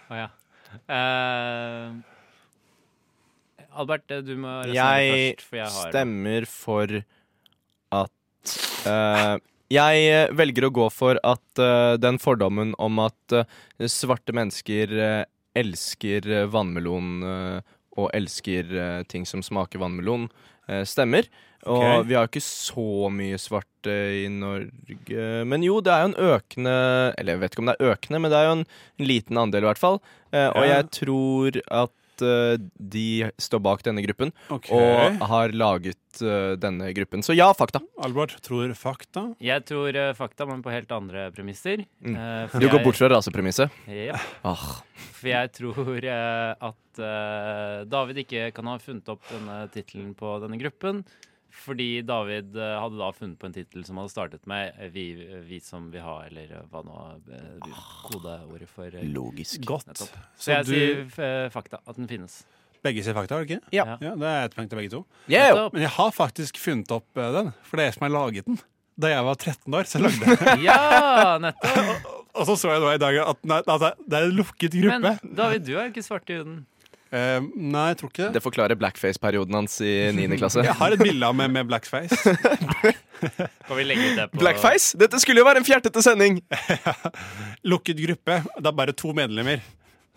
Speaker 1: Å, ja. Eh, Albert, eh, du må resonnere
Speaker 5: Jeg
Speaker 1: først, for jeg har
Speaker 5: stemmer for at eh, Jeg eh, velger å gå for at eh, den fordommen om at eh, svarte mennesker eh, elsker eh, vannmelon eh, og elsker eh, ting som smaker vannmelon, eh, stemmer. Og
Speaker 2: Ok.
Speaker 5: vi har ikke så mye svarte i Norge. Men jo, det er jo en økende Eller jeg vet ikke om det er økende, men det er jo en liten andel, i hvert fall. Eh, Og
Speaker 2: Ja.
Speaker 5: jeg tror at eh, de står bak denne gruppen
Speaker 2: Ok.
Speaker 5: og har laget eh, denne gruppen. Så ja, fakta.
Speaker 2: Albert tror fakta.
Speaker 1: Jeg tror eh, fakta, men på helt andre premisser.
Speaker 5: Mm.
Speaker 1: Eh, for
Speaker 5: Du går
Speaker 1: jeg-
Speaker 5: bort fra rasepremisset.
Speaker 1: Jep.
Speaker 5: Ah.
Speaker 1: For jeg tror eh, at eh, David ikke kan ha funnet opp denne tittelen på denne gruppen. Fordi David eh, hadde da funnet på en tittel som hadde startet med eh, vi, 'Vi som vi har', eller eh, hva nå eh, kodeordet for eh,
Speaker 8: Logisk.
Speaker 2: Godt.
Speaker 1: Nettopp. Så,
Speaker 2: Så
Speaker 1: jeg
Speaker 2: du,
Speaker 1: sier eh, fakta. At den finnes.
Speaker 2: begge sier fakta, har du ikke?
Speaker 1: Ja.
Speaker 2: ja Det er ett poeng til begge to.
Speaker 5: Yeah!
Speaker 1: Nettopp.
Speaker 2: Men jeg har faktisk funnet opp eh, den, for det er jeg som har laget den. Da jeg var 13 år, så lagde (laughs) jeg den.
Speaker 1: Ja, nettopp!
Speaker 2: Og så så jeg nå i dag at nei, altså, det er en lukket
Speaker 1: Men
Speaker 2: gruppe.
Speaker 1: David, du er jo ikke svart i huden.
Speaker 2: Eh, Eh, nei, jeg tror ikke det.
Speaker 3: Det forklarer blackface-perioden hans i 9. klasse.
Speaker 2: Jeg har et bilde av meg med (laughs) blackface.
Speaker 1: Kan vi legge ut det på
Speaker 3: Blackface? Dette skulle jo være en fjertete sending!
Speaker 2: Lukket gruppe. Det er bare to medlemmer.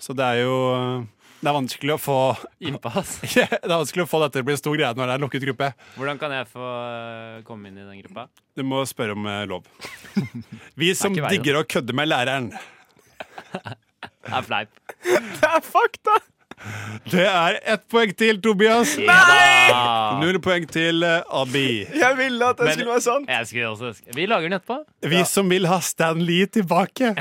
Speaker 2: Så det er jo eh, Det er vanskelig å få (laughs)
Speaker 1: innpass?
Speaker 2: Det er vanskelig å få dette til å bli en stor greie når det er en lukket gruppe.
Speaker 1: Hvordan kan jeg få eh, komme inn i den gruppa?
Speaker 2: Du må spørre om eh, (laughs) lov. Vi som
Speaker 1: ikke verre.
Speaker 2: digger å kødde med læreren.
Speaker 1: Det er fleip.
Speaker 3: Det er fakta!
Speaker 2: Det er ett poeng til, Tobias.
Speaker 1: Nei!
Speaker 2: Null poeng til eh, Abi.
Speaker 3: Jeg ville at det
Speaker 1: Men-
Speaker 3: skulle være sant.
Speaker 1: Jeg skulle også ønske Vi lager den etterpå.
Speaker 2: Vi som vil ha Stan Lee tilbake.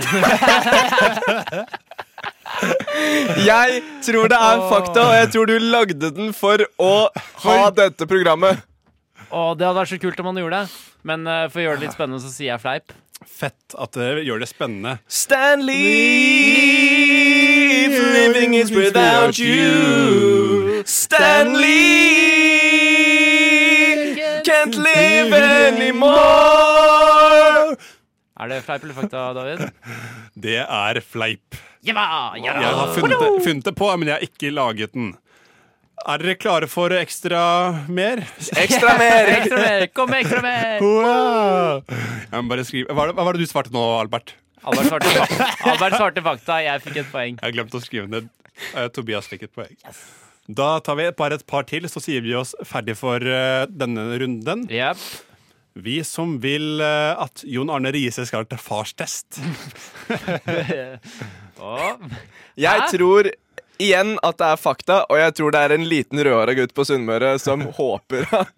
Speaker 3: Jeg tror det er fakta, og jeg tror du lagde den for å ha dette programmet.
Speaker 1: Å, det hadde vært så kult om han gjorde det. Men eh, for å gjøre det litt spennende, så sier jeg fleip.
Speaker 2: Fett at det gjør det spennende.
Speaker 3: Stanley, living is without you. Stanley, can't live anymore.
Speaker 1: Er det fleip eller fakta, David?
Speaker 2: Det er fleip.
Speaker 1: Jeba! Jeba!
Speaker 2: Jeg har funnet, det- funnet det på, men jeg har ikke laget den. Er dere klare for ekstra mer?
Speaker 3: Ekstra mer.
Speaker 1: Ekstra mer! Kom med ekstra mer!
Speaker 2: Wow. Jeg må bare skrive. Hva, er det- hva var det du svarte nå, Albert?
Speaker 1: Albert svarte fakta. Albert svarte fakta. Jeg fikk et poeng.
Speaker 2: Jeg har glemt å skrive ned. Eh, Tobias fikk et poeng. Da tar vi bare et par til, så sier vi oss ferdig for eh, denne runden.
Speaker 1: Yep.
Speaker 2: Vi som vil eh, at Jon Arne Riise skal til farstest.
Speaker 1: Og
Speaker 3: Jeg tror igjen at det er fakta, og jeg tror det er en liten rødhåra gutt på Sunnmøre som håper at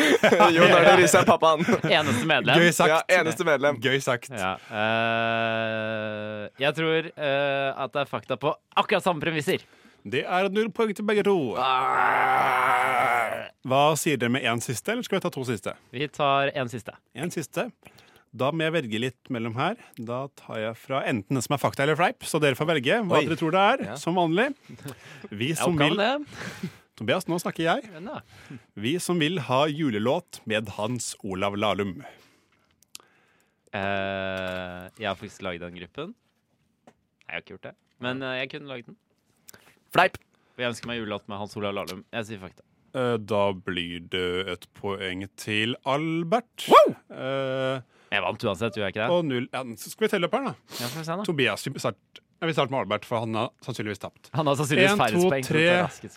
Speaker 3: (laughs) Jon Arne Riise er pappaen.
Speaker 1: eneste medlem.
Speaker 2: Gøy
Speaker 3: Ja,
Speaker 2: sagt.
Speaker 3: eneste medlem.
Speaker 2: Gøy sagt.
Speaker 1: Ja. eh, jeg tror eh, at det er fakta på akkurat samme premisser.
Speaker 2: Det er null poeng til begge to. Hva sier dere med én siste, eller skal vi ta to siste?
Speaker 1: Vi tar en siste.
Speaker 2: En siste. Da må jeg velge litt mellom her. Da tar jeg fra enten det som er fakta eller fleip, så dere får velge hva
Speaker 3: Oi.
Speaker 2: dere tror det er, som vanlig. Vi
Speaker 1: Jeg
Speaker 2: som vil
Speaker 1: oppgaven,
Speaker 2: Tobias, nå snakker jeg.
Speaker 1: det. Ja.
Speaker 2: Vi som vil ha julelåt med Hans Olav Lahlum.
Speaker 1: Eh, jeg har faktisk laget den gruppen. Nei, jeg har ikke gjort det. Men eh, jeg kunne laget den. Fleip! Jeg ønsker meg julelåt med Hans Olav Lahlum. Jeg sier fakta.
Speaker 2: Eh, Da blir det et poeng til Albert. Eh,
Speaker 1: Jeg vant uansett, gjorde jeg ikke det?
Speaker 2: og null ja, Så skal vi telle opp her, da.
Speaker 1: Ja, får vi se da.
Speaker 2: Tobias, vi start- ja, vi starter med Albert, for han har sannsynligvis tapt.
Speaker 1: Han har sannsynligvis
Speaker 2: En, to,
Speaker 1: færrespoeng.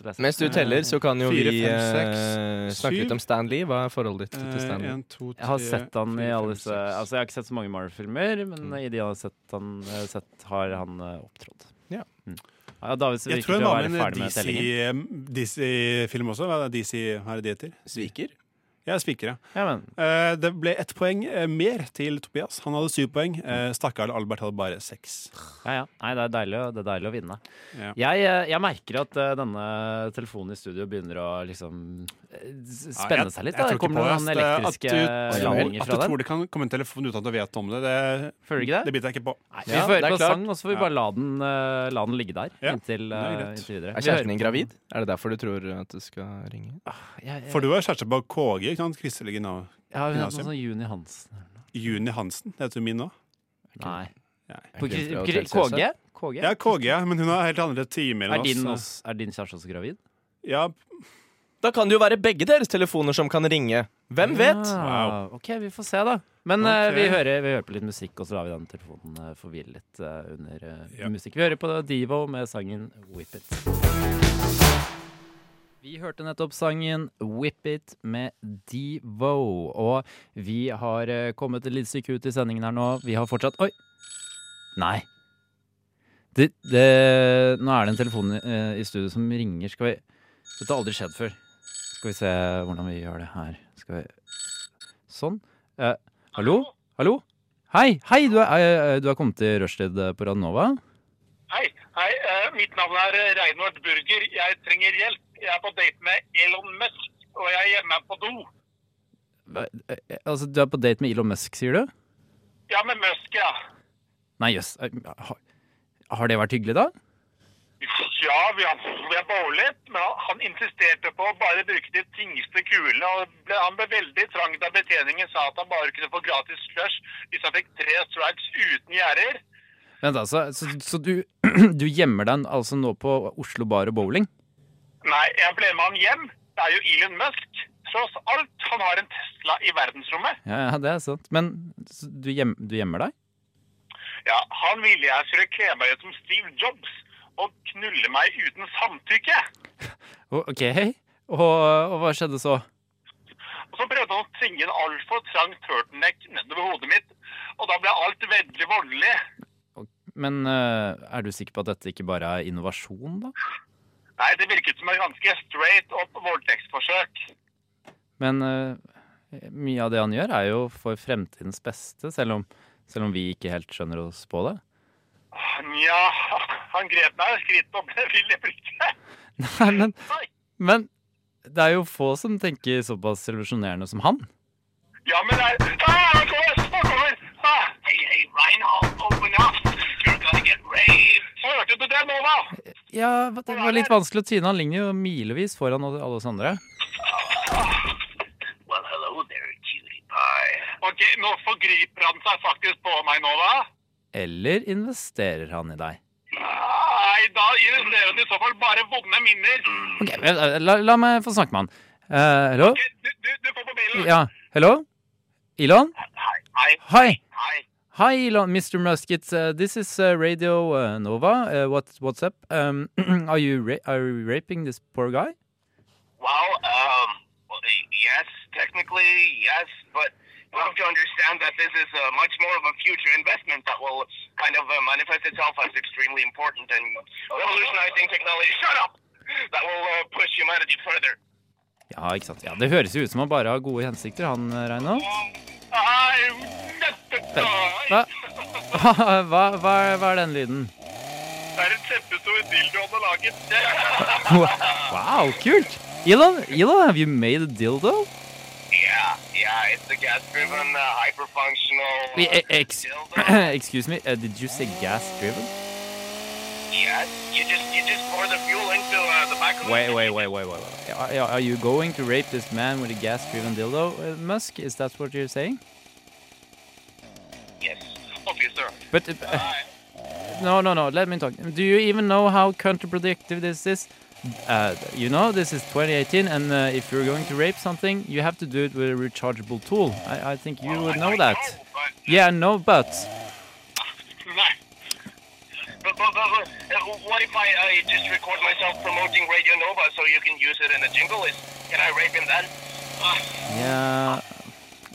Speaker 2: tre.
Speaker 3: Mens du teller, så kan jo
Speaker 2: Eh, Fire,
Speaker 3: vi
Speaker 2: fem,
Speaker 3: eh,
Speaker 2: seks,
Speaker 3: snakke
Speaker 2: syv.
Speaker 3: litt om Stanley. Hva er forholdet ditt til
Speaker 2: Eh,
Speaker 3: Stanley?
Speaker 2: en, to, tre,
Speaker 1: Jeg har sett han i
Speaker 2: fire,
Speaker 1: alle
Speaker 2: fem,
Speaker 1: disse
Speaker 2: seks.
Speaker 1: Altså, jeg har ikke sett så mange Marvel-filmer, men i de jeg har sett, han, eh, sett har han eh, opptrådt.
Speaker 3: Ja.
Speaker 1: Mm. Ja, David ser
Speaker 2: Jeg
Speaker 1: ut
Speaker 2: tror han
Speaker 1: til å
Speaker 2: var
Speaker 1: være
Speaker 2: med i
Speaker 1: ferdig med tellingen.
Speaker 2: en DC-film også. Hva er det DC, hva er det de heter?
Speaker 3: Sviker?
Speaker 2: Ja, Spikere.
Speaker 1: Ja, men,
Speaker 2: Eh, det ble ett poeng eh, mer til Tobias. Han hadde syv poeng. Eh, Stakkar Albert hadde bare seks.
Speaker 1: ja, ja. Nei, det er deilig, å- det er deilig å vinne.
Speaker 2: Ja.
Speaker 1: Jeg, eh, jeg merker at eh, denne telefonen i studio begynner å liksom eh, s-
Speaker 2: Ja,
Speaker 1: spenne
Speaker 2: jeg-
Speaker 1: seg litt.
Speaker 2: jeg
Speaker 1: Da.
Speaker 2: tror
Speaker 1: Det Kommer
Speaker 2: ikke på
Speaker 1: noen
Speaker 2: det, ass. Det
Speaker 1: elektriske
Speaker 2: er at du,
Speaker 1: ladninger
Speaker 2: At du
Speaker 1: fra den?
Speaker 2: tror det kan komme en telefon uten at du vet om det, det,
Speaker 1: Føler du ikke
Speaker 2: det
Speaker 1: det?
Speaker 2: biter jeg ikke på.
Speaker 1: Nei, vi
Speaker 3: Ja,
Speaker 1: får
Speaker 3: det er
Speaker 1: høre på
Speaker 3: klart.
Speaker 1: sang, og så får vi bare la den, eh, la den ligge der
Speaker 2: Ja,
Speaker 1: inntil,
Speaker 2: er
Speaker 1: eh,
Speaker 2: greit.
Speaker 1: inntil videre. Vi
Speaker 3: Er
Speaker 1: hører
Speaker 3: kjæresten din
Speaker 1: på-
Speaker 3: gravid? Er det derfor du tror at det skal ringe?
Speaker 1: Jeg- jeg-
Speaker 2: For du har kjæreste på KG, ikke sant? Kristelig Gina-
Speaker 1: Ja, hun er
Speaker 2: Gymnasium.
Speaker 1: sånn Juni Hansen.
Speaker 2: Juni Hansen, det heter hun min nå.
Speaker 1: Nei.
Speaker 2: Nei.
Speaker 1: På
Speaker 3: Er altså. ikke
Speaker 1: kri-
Speaker 3: hun fra
Speaker 1: kri-
Speaker 3: Hotell
Speaker 1: KG? KG?
Speaker 2: Ja, KG, ja, men hun har helt andre timer
Speaker 1: Er
Speaker 2: enn
Speaker 1: din,
Speaker 2: oss.
Speaker 1: også, er din kjæreste også gravid?
Speaker 2: Ja,
Speaker 3: Da kan det jo være begge deres telefoner som kan ringe. Hvem vet?
Speaker 1: Ah, OK, vi får se, da. Men eh,
Speaker 2: Ok.
Speaker 1: vi, hører, vi hører på litt musikk, og så lar vi den telefonen uh, få hvile litt eh, under eh,
Speaker 2: Ja.
Speaker 1: musikk. Vi hører på Divo med sangen Whip It. Vi hørte nettopp sangen Whip It med Divo. Og vi har eh, kommet et lite stykke ut i sendingen her nå. Vi har fortsatt Oi! Nei. Det, det, nå er det en telefon eh, i studio som ringer. Skal vi Dette har aldri skjedd før. Skal vi se hvordan vi gjør det her. Skal vi Sånn. Eh, hallo? Hallo? Hei! Hei! Du er, eh, du er kommet til rushtid eh, på Radnova?
Speaker 9: Hei, hei. eh, mitt navn er eh, Reinhold Burger. Jeg trenger hjelp. Jeg er på date med Elon Musk, og jeg er hjemme på do.
Speaker 1: Hva- eh, eh, Altså, du er på date med Elon Musk, sier du?
Speaker 9: Ja, med Musk, ja.
Speaker 1: Nei, jøss. Eh, Har, har det vært hyggelig, da?
Speaker 9: Ja, vi har, vi har bowlet, men han, han insisterte på å bare bruke de tingeste kulene. og ble, Han ble veldig trang da betjeningen sa at han bare kunne få gratis slush hvis han fikk tre strikes uten gjerder.
Speaker 1: (clears throat) Vent, altså. Så, så du, du gjemmer deg altså nå på Oslo Bar og Bowling?
Speaker 9: Nei, jeg ble med han hjem. Det er jo Elon Musk. Tross alt, han har en Tesla i verdensrommet.
Speaker 1: Ja, ja, det er sant. Men s- du, gjem, du gjemmer deg?
Speaker 9: Ja, han ville jeg skulle kle meg ut som Steve Jobs og knulle meg uten samtykke.
Speaker 1: Å, OK. Og, og hva skjedde så?
Speaker 9: Og så prøvde han å tvinge en altfor trang turtleneck nedover hodet mitt, og da ble alt veldig voldelig.
Speaker 1: Men eh, er du sikker på at dette ikke bare er innovasjon, da?
Speaker 9: Nei, det virket som et ganske straight up voldtektsforsøk.
Speaker 1: Men eh, mye av det han gjør, er jo for fremtidens beste, selv om, selv om vi ikke helt skjønner oss på det. (laughs)
Speaker 9: Nja, han grep meg i skrittet og ble vill i blikket.
Speaker 1: Nei, men, men det er jo få som tenker såpass revolusjonerende som han.
Speaker 9: Ja, men det er ah, han kommer! Han kommer! Ah. Hey, hey, Reinhold, open up! You're gonna get raped! Hørte du det, Nova?
Speaker 1: Ja, det var litt vanskelig å tyne. Han ligner jo milevis foran alle oss andre.
Speaker 9: Well, hello there, cutie pie. Ok, nå forgriper han seg faktisk på meg, Nova.
Speaker 1: Eller investerer han i deg?
Speaker 9: Nei, da investerer han i så fall bare vonde minner.
Speaker 1: Ok, eh, La, la meg få snakke med han. Eh, hello?
Speaker 9: Ok, Du, du, du får på bilen.
Speaker 1: Ja, hello? Elon?
Speaker 9: Hei, hei,
Speaker 1: Hi.
Speaker 9: hei.
Speaker 1: Hi, Elon, Mr. Musk. It's, uh, this is uh, Radio uh, Nova. Uh, what, what's up? Um, (clears throat) are, you ra are you raping this poor guy?
Speaker 9: Well, um, well, y- yes, technically, yes, but you have to understand that this is uh, much more of a future investment that will kind of uh, manifest itself as extremely important and revolutionizing technology. Shut up! That will uh, push humanity further.
Speaker 1: Ja, ikke sant. Ja, det høres jo ut som han bare har gode hensikter, han eh, Reino. (laughs)
Speaker 9: I'm
Speaker 1: Hva? Hva, hva, hva er den lyden?
Speaker 9: Det er en kjempestor dildo han har (laughs) laget.
Speaker 1: Wow, kult! Elon, Elon, have you made a dildo?
Speaker 9: Yeah, yeah, it's a gas-driven, uh, hyper-functional... uh,
Speaker 1: E- e- ex (clears throat) (coughs) excuse me, uh, did you say gas driven?
Speaker 9: Yes, you just, you just pour the fuel into uh, the back of
Speaker 1: Wait, wait, wait, wait, wait. wait. Are, are you going to rape this man with a gas driven dildo, uh, Musk? Is that what you're saying?
Speaker 9: Yes, officer.
Speaker 1: But uh, no, no, no. Let me talk. Do you even know how counterproductive this is? Uh, you know, this is 2018, and uh, if you're going to rape something, you have to do it with a rechargeable tool. I, I think (laughs) you would know that. Yeah, no, but
Speaker 9: Right. (laughs) But, but, but, but, uh, what if I, I just record myself promoting Radio Nova so you can use it in a jingle? Is, can I rape him then? Uh,
Speaker 1: yeah,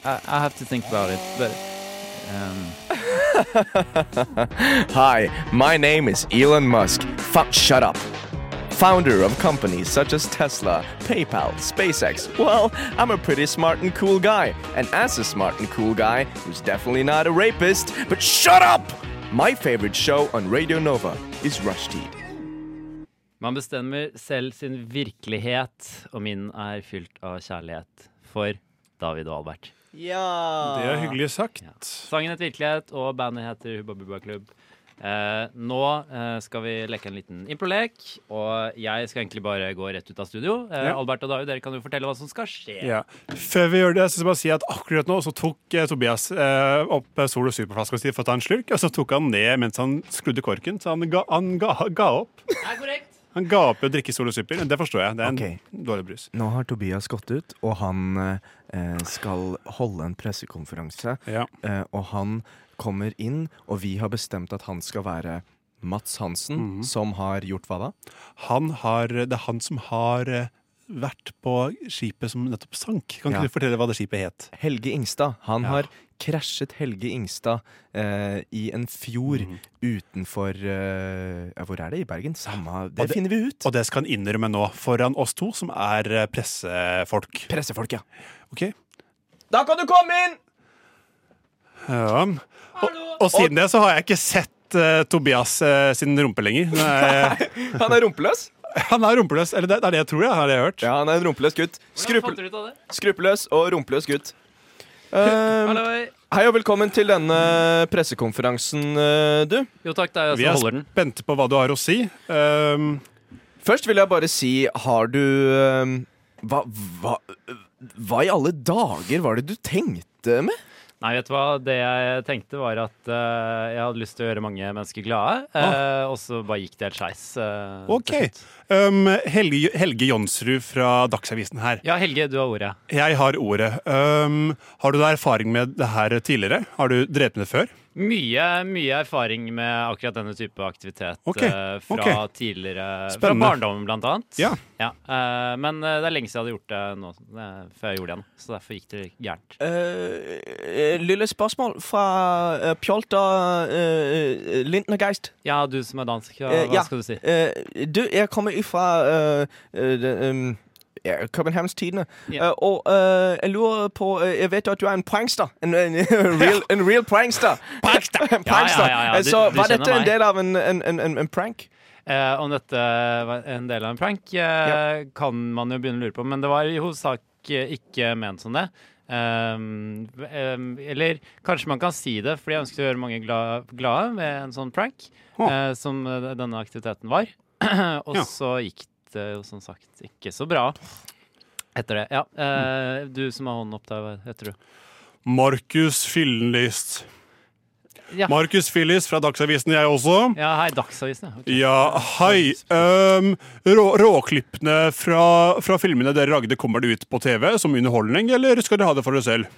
Speaker 1: I, I have to think about it. But um,
Speaker 3: Hi, my name is Elon Musk. Fuck, shut up. Founder of companies such as Tesla, PayPal, SpaceX. Well, I'm a pretty smart and cool guy. And as a smart and cool guy, who's definitely not a rapist, but shut up! My favorite show on Radio Nova is Rushdie.
Speaker 1: Man bestemmer selv sin virkelighet, og min er fylt av kjærlighet for David og Albert.
Speaker 2: Det er
Speaker 1: Ah.
Speaker 2: hyggelig sagt.
Speaker 1: Sangen het Virkelighet, og bandet heter Hubba Bubba Klubb. Eh, nå eh, skal vi leke en liten improlek, og jeg skal egentlig bare gå rett ut av studio. Eh,
Speaker 2: Ja.
Speaker 1: Albert og David, dere kan jo fortelle hva som skal skje.
Speaker 2: Ja. Før vi gjør det, så skal jeg bare si at akkurat nå så tok eh, Tobias eh, opp eh, Sol og Superflaska si for å ta en slurk, og så tok han ned mens han skrudde korken, så han ga, han ga, ga opp.
Speaker 1: Er korrekt.
Speaker 2: Han ga opp i å drikke Sol og Super. Det forstår jeg. Det er en
Speaker 5: Ok.
Speaker 2: dårlig brus.
Speaker 5: Nå har Tobias gått ut, og han eh, skal holde en pressekonferanse.
Speaker 2: Ja.
Speaker 5: Eh, og han kommer inn, og vi har bestemt at han skal være Mats Hansen, som har gjort hva da?
Speaker 2: Han har, det er han som har eh, vært på skipet som nettopp sank. Kan
Speaker 5: Ja.
Speaker 2: ikke du fortelle hva det skipet het?
Speaker 5: Helge Ingstad. Han har krasjet Helge Ingstad eh, i en fjord
Speaker 3: Mhm.
Speaker 5: utenfor eh, ja, Hvor er det? I Bergen? Samme Det,
Speaker 2: det-
Speaker 5: finner vi ut!
Speaker 2: Og det skal han innrømme nå, foran oss to, som er eh, pressefolk.
Speaker 5: Pressefolk, ja.
Speaker 2: Ok?
Speaker 3: Da kan du komme inn!
Speaker 2: Ja. Og, og siden det så har jeg ikke sett eh, Tobias eh, sin rumpe lenger. Nei,
Speaker 3: Han er rumpeløs.
Speaker 2: han er rumpeløs. Eller det, det er det jeg tror, jeg, har jeg hørt.
Speaker 3: Ja, han er en rumpeløs gutt.
Speaker 1: Hvordan
Speaker 3: Skruppel
Speaker 1: fant dere ut av det?
Speaker 3: skruppeløs og rumpeløs
Speaker 1: (laughs)
Speaker 3: gutt.
Speaker 2: Um,
Speaker 3: Eh,
Speaker 1: Halloi.
Speaker 3: hei og velkommen til denne pressekonferansen, eh, du.
Speaker 1: Jo takk, det er
Speaker 2: Vi
Speaker 1: jeg
Speaker 2: er
Speaker 1: som holder den.
Speaker 2: spente på hva du har å si. Um,
Speaker 3: Først vil jeg bare si, har du ehm, eh, hva, hva, hva i alle dager var det du tenkte med?
Speaker 1: Nei, vet du hva? Det jeg tenkte var at eh, jeg hadde lyst til å gjøre mange mennesker glade, eh, og så bare gikk det helt skeis. eh, til
Speaker 2: Ok.
Speaker 1: slutt.
Speaker 2: Um, Helge, Helge Jonsrud fra Dagsavisen her.
Speaker 1: Ja, Helge, du har ordet.
Speaker 2: Jeg har ordet. Um, har du da erfaring med det her tidligere? Har du drevet med det før?
Speaker 1: Mye, mye erfaring med akkurat denne type aktivitet
Speaker 2: Ok,
Speaker 1: eh, fra
Speaker 2: ok.
Speaker 1: tidligere Fra
Speaker 2: Spennende.
Speaker 1: barndommen, blant annet.
Speaker 2: Ja.
Speaker 1: eh, men eh, det er lenge siden jeg hadde gjort det nå, eh, før jeg gjorde det igjen. Så derfor gikk det gærent.
Speaker 5: Eh, lille spørsmål fra eh, Pjolter eh, Lindnergeist.
Speaker 1: Ja, du som er dansk, hva,
Speaker 5: Eh, ja.
Speaker 1: hva skal du si?
Speaker 5: Eh, du, jeg kommer ifra eh, eh, det, um, ja, Københavns Tidende.
Speaker 1: Ja.
Speaker 5: Eh, og eh, jeg lurer på eh, Jeg vet jo at du er en prankster. En,
Speaker 1: (laughs)
Speaker 5: en, real, en real prankster. (laughs) prankster.
Speaker 1: Ja, ja, ja, ja.
Speaker 5: Eh,
Speaker 1: Du-
Speaker 5: Så
Speaker 1: du
Speaker 5: var
Speaker 1: kjenner
Speaker 5: dette en
Speaker 1: meg.
Speaker 5: del av en, en, en, en, en prank?
Speaker 1: Eh, om dette var en del av en prank, eh, kan man jo begynne å lure på, men det var i hovedsak eh, ikke ment som det. Ehm, ehm, eller kanskje man kan si det, fordi jeg ønsket å gjøre mange gla glade med en sånn prank, eh, som eh, denne aktiviteten var. (clears throat) Og
Speaker 2: Ja.
Speaker 1: så gikk det jo som sagt ikke så bra etter det. Ja, eh, du som har hånden opp der, hva heter du?
Speaker 2: Markus Fyllenlyst.
Speaker 1: Ja,
Speaker 2: Markus Fyllis fra Dagsavisen, jeg også.
Speaker 1: ja hei, Dagsavisen. ja. Ok.
Speaker 2: Ja, hei. Um, rå, råklippene fra, fra filmene dere lagde, kommer det ut på TV som underholdning, eller skal dere ha det for dere selv?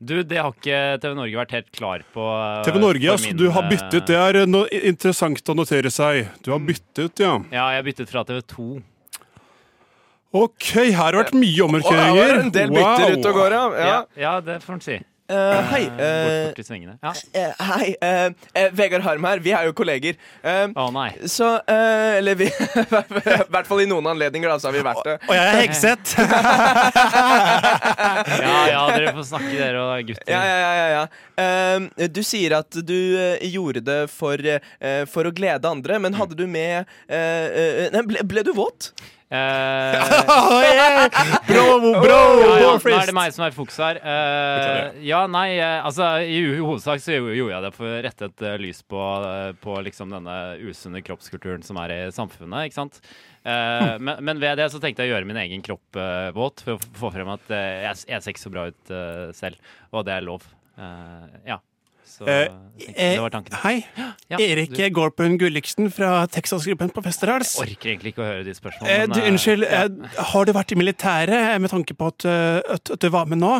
Speaker 1: Du, det har ikke TV Norge vært helt klar på. eh,
Speaker 2: TV Norge,
Speaker 1: for
Speaker 2: ja, så
Speaker 1: min,
Speaker 2: du har
Speaker 1: eh,
Speaker 2: byttet. Det er no interessant å notere seg. Du
Speaker 1: Mm.
Speaker 2: har byttet, ja.
Speaker 1: Ja, jeg byttet fra TV 2.
Speaker 2: OK, her har det vært mye
Speaker 5: Å, ja, det
Speaker 2: omrokeringer.
Speaker 5: var en del bytter ute og går, ja. ja.
Speaker 1: Ja, ja det får en si.
Speaker 5: Eh, hei.
Speaker 1: Øh, Bort
Speaker 5: eh,
Speaker 1: bort i svingene. Ja.
Speaker 5: eh, hei. eh, eh, Vegard Harm her. Vi er jo kolleger. Eh,
Speaker 1: Å nei.
Speaker 5: Så eh, Eller vi (laughs) I hvert fall i noen anledninger, da, så har vi vært det.
Speaker 2: Og jeg er Hegseth.
Speaker 1: Ja, ja, dere får snakke, dere og gutter.
Speaker 5: Ja, ja, ja, ja, ja. Ehm, du sier at du eh, gjorde det for, eh, for å glede andre, men hadde du med eh, eh, nei, ble, ble du våt? (laughs)
Speaker 1: Eh,
Speaker 2: Bravo,
Speaker 1: ja, ja,
Speaker 2: bravo!
Speaker 1: nå er det meg som er i fokus her. Eh, ja, nei, eh, altså i ho- hovedsak så gjo- gjorde jeg det for å rette et eh, lys på, eh, på liksom denne usunne kroppskulturen som er i samfunnet, ikke sant. Eh,
Speaker 5: Hm.
Speaker 1: men, men ved det så tenkte jeg å gjøre min egen kropp eh, våt, for å f- få frem at eh, jeg, s- jeg ser ikke så bra ut eh, selv, og det er lov. Eh, ja. Så
Speaker 2: Eh,
Speaker 1: jeg tenkte, (laughs) det var tanken.
Speaker 2: Hei.
Speaker 1: Ja,
Speaker 2: Erik
Speaker 1: du-
Speaker 2: Gårdbøen Gulliksen fra Texas-gruppen på Westerdals.
Speaker 1: orker egentlig ikke å høre de spørsmålene.
Speaker 2: Eh, du,
Speaker 1: men, eh,
Speaker 2: unnskyld, eh, har du vært i militæret eh, med tanke på at, eh, at, at du var med nå?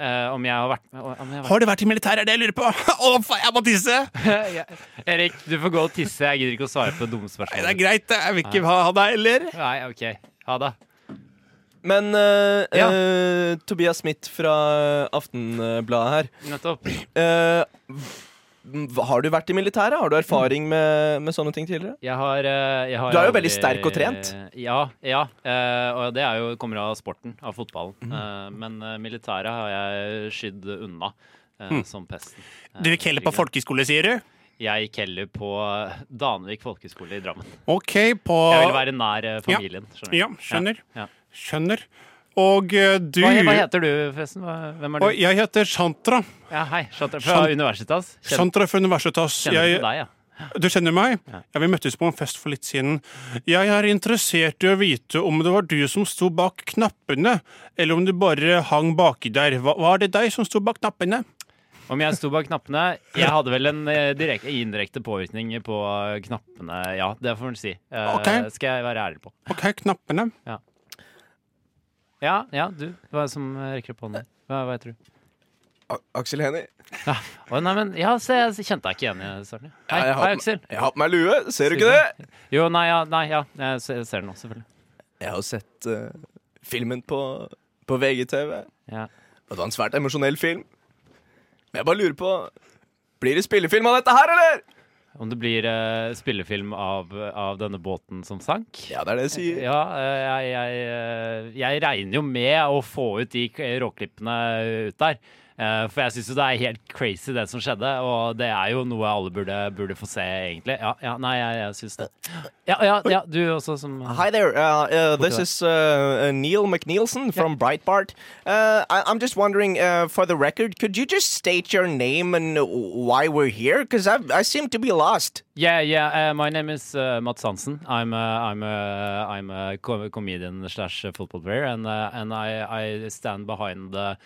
Speaker 1: eh, om jeg har vært med om jeg har vært.
Speaker 2: Har du vært i militæret, er det jeg lurer på? (laughs) Å, faen, jeg må tisse!
Speaker 1: Erik, du får gå og tisse. Jeg gidder ikke å svare på dumme
Speaker 2: Nei,
Speaker 1: spørsmål.
Speaker 2: det er greit, det. jeg vil ikke ha ha deg heller.
Speaker 1: Nei, OK. Ha det.
Speaker 5: Men eh,
Speaker 1: Ja.
Speaker 5: eh, Tobias Smith fra Aftenbladet her
Speaker 1: Nettopp.
Speaker 5: eh, hva- Har du vært i militæret? Har du erfaring med, med sånne ting tidligere?
Speaker 1: Jeg har, eh, jeg har
Speaker 5: Du er jo veldig
Speaker 1: aldri-
Speaker 5: sterk og trent.
Speaker 1: Ja. ja eh, og det er jo, kommer av sporten, av fotballen.
Speaker 2: Mhm.
Speaker 1: Eh, men eh, militæret har jeg skydd unna. eh,
Speaker 2: Mhm.
Speaker 1: Som pesten.
Speaker 2: Du gikk heller på folkehøyskole, sier du?
Speaker 1: Jeg gikk heller på eh, Danvik folkehøgskole i Drammen.
Speaker 2: OK, på
Speaker 1: Jeg ville være nær eh,
Speaker 2: Ja.
Speaker 1: familien. skjønner du.
Speaker 2: Ja, skjønner.
Speaker 1: Ja.
Speaker 2: Skjønner. Og eh, du
Speaker 1: Hva, hva heter du, forresten? Hva- Hvem er du?
Speaker 2: Og jeg heter Shantra.
Speaker 1: Ja, hei. Chantra fra
Speaker 2: Chan-
Speaker 1: Universitas. Kjenner,
Speaker 2: Shantra fra Universitas.
Speaker 1: kjenner
Speaker 2: Jeg-
Speaker 1: til deg, ja.
Speaker 2: Du kjenner meg? Ja, Vi møttes på en fest for litt siden. Jeg er interessert i å vite om det var du som sto bak knappene, eller om du bare hang baki der. Hva, var det deg som sto bak knappene?
Speaker 1: Om jeg sto bak knappene? Jeg hadde vel en eh, direkte, indirekte påvirkning på eh, knappene, ja. Det får en si. Eh,
Speaker 2: Ok.
Speaker 1: Skal jeg være ærlig på.
Speaker 2: Ok, knappene.
Speaker 1: Ja, ja, du. Hva er det som eh, rekker opp hånden? Hva, hva heter du?
Speaker 5: Aksel Hennie.
Speaker 1: Å, nei, men Ja, se, jeg kjente deg ikke igjen i starten. ja. Hei,
Speaker 5: Ja, jeg har
Speaker 1: hei
Speaker 5: på-
Speaker 1: Aksel.
Speaker 5: Jeg har på meg lue, ser du ikke det?
Speaker 1: Jo, nei, ja. Nei, ja. Jeg ser, jeg ser den nå, selvfølgelig.
Speaker 5: Jeg har jo sett eh, filmen på, på VGTV.
Speaker 1: Ja.
Speaker 5: Og det var en svært emosjonell film. Men jeg bare lurer på Blir det spillefilm av dette her, eller?
Speaker 1: Om det blir eh, spillefilm av, av denne båten som sank?
Speaker 5: Ja, det er det jeg sier.
Speaker 1: Ja, eh, jeg, jeg, eh, jeg regner jo med å få ut de k- råklippene ut der. Eh, For jeg syns jo det er helt crazy, det som skjedde. Og det er jo noe alle burde, burde få se, egentlig. Ja, ja nei, jeg, jeg syns det. Ja, ja, ja, du også som
Speaker 5: Hi there. Uh, uh, this is uh, uh, Neil McNeilson from Breitbart. Uh, I- I'm just wondering, uh, for the record, could you just state your name and why we're here? Because I seem to be lost.
Speaker 1: Yeah, yeah, uh, my name is uh, Mats Hansen. I'm a, I'm a, I'm eh, a co- comedian slash football player, and uh, and I, I stand behind the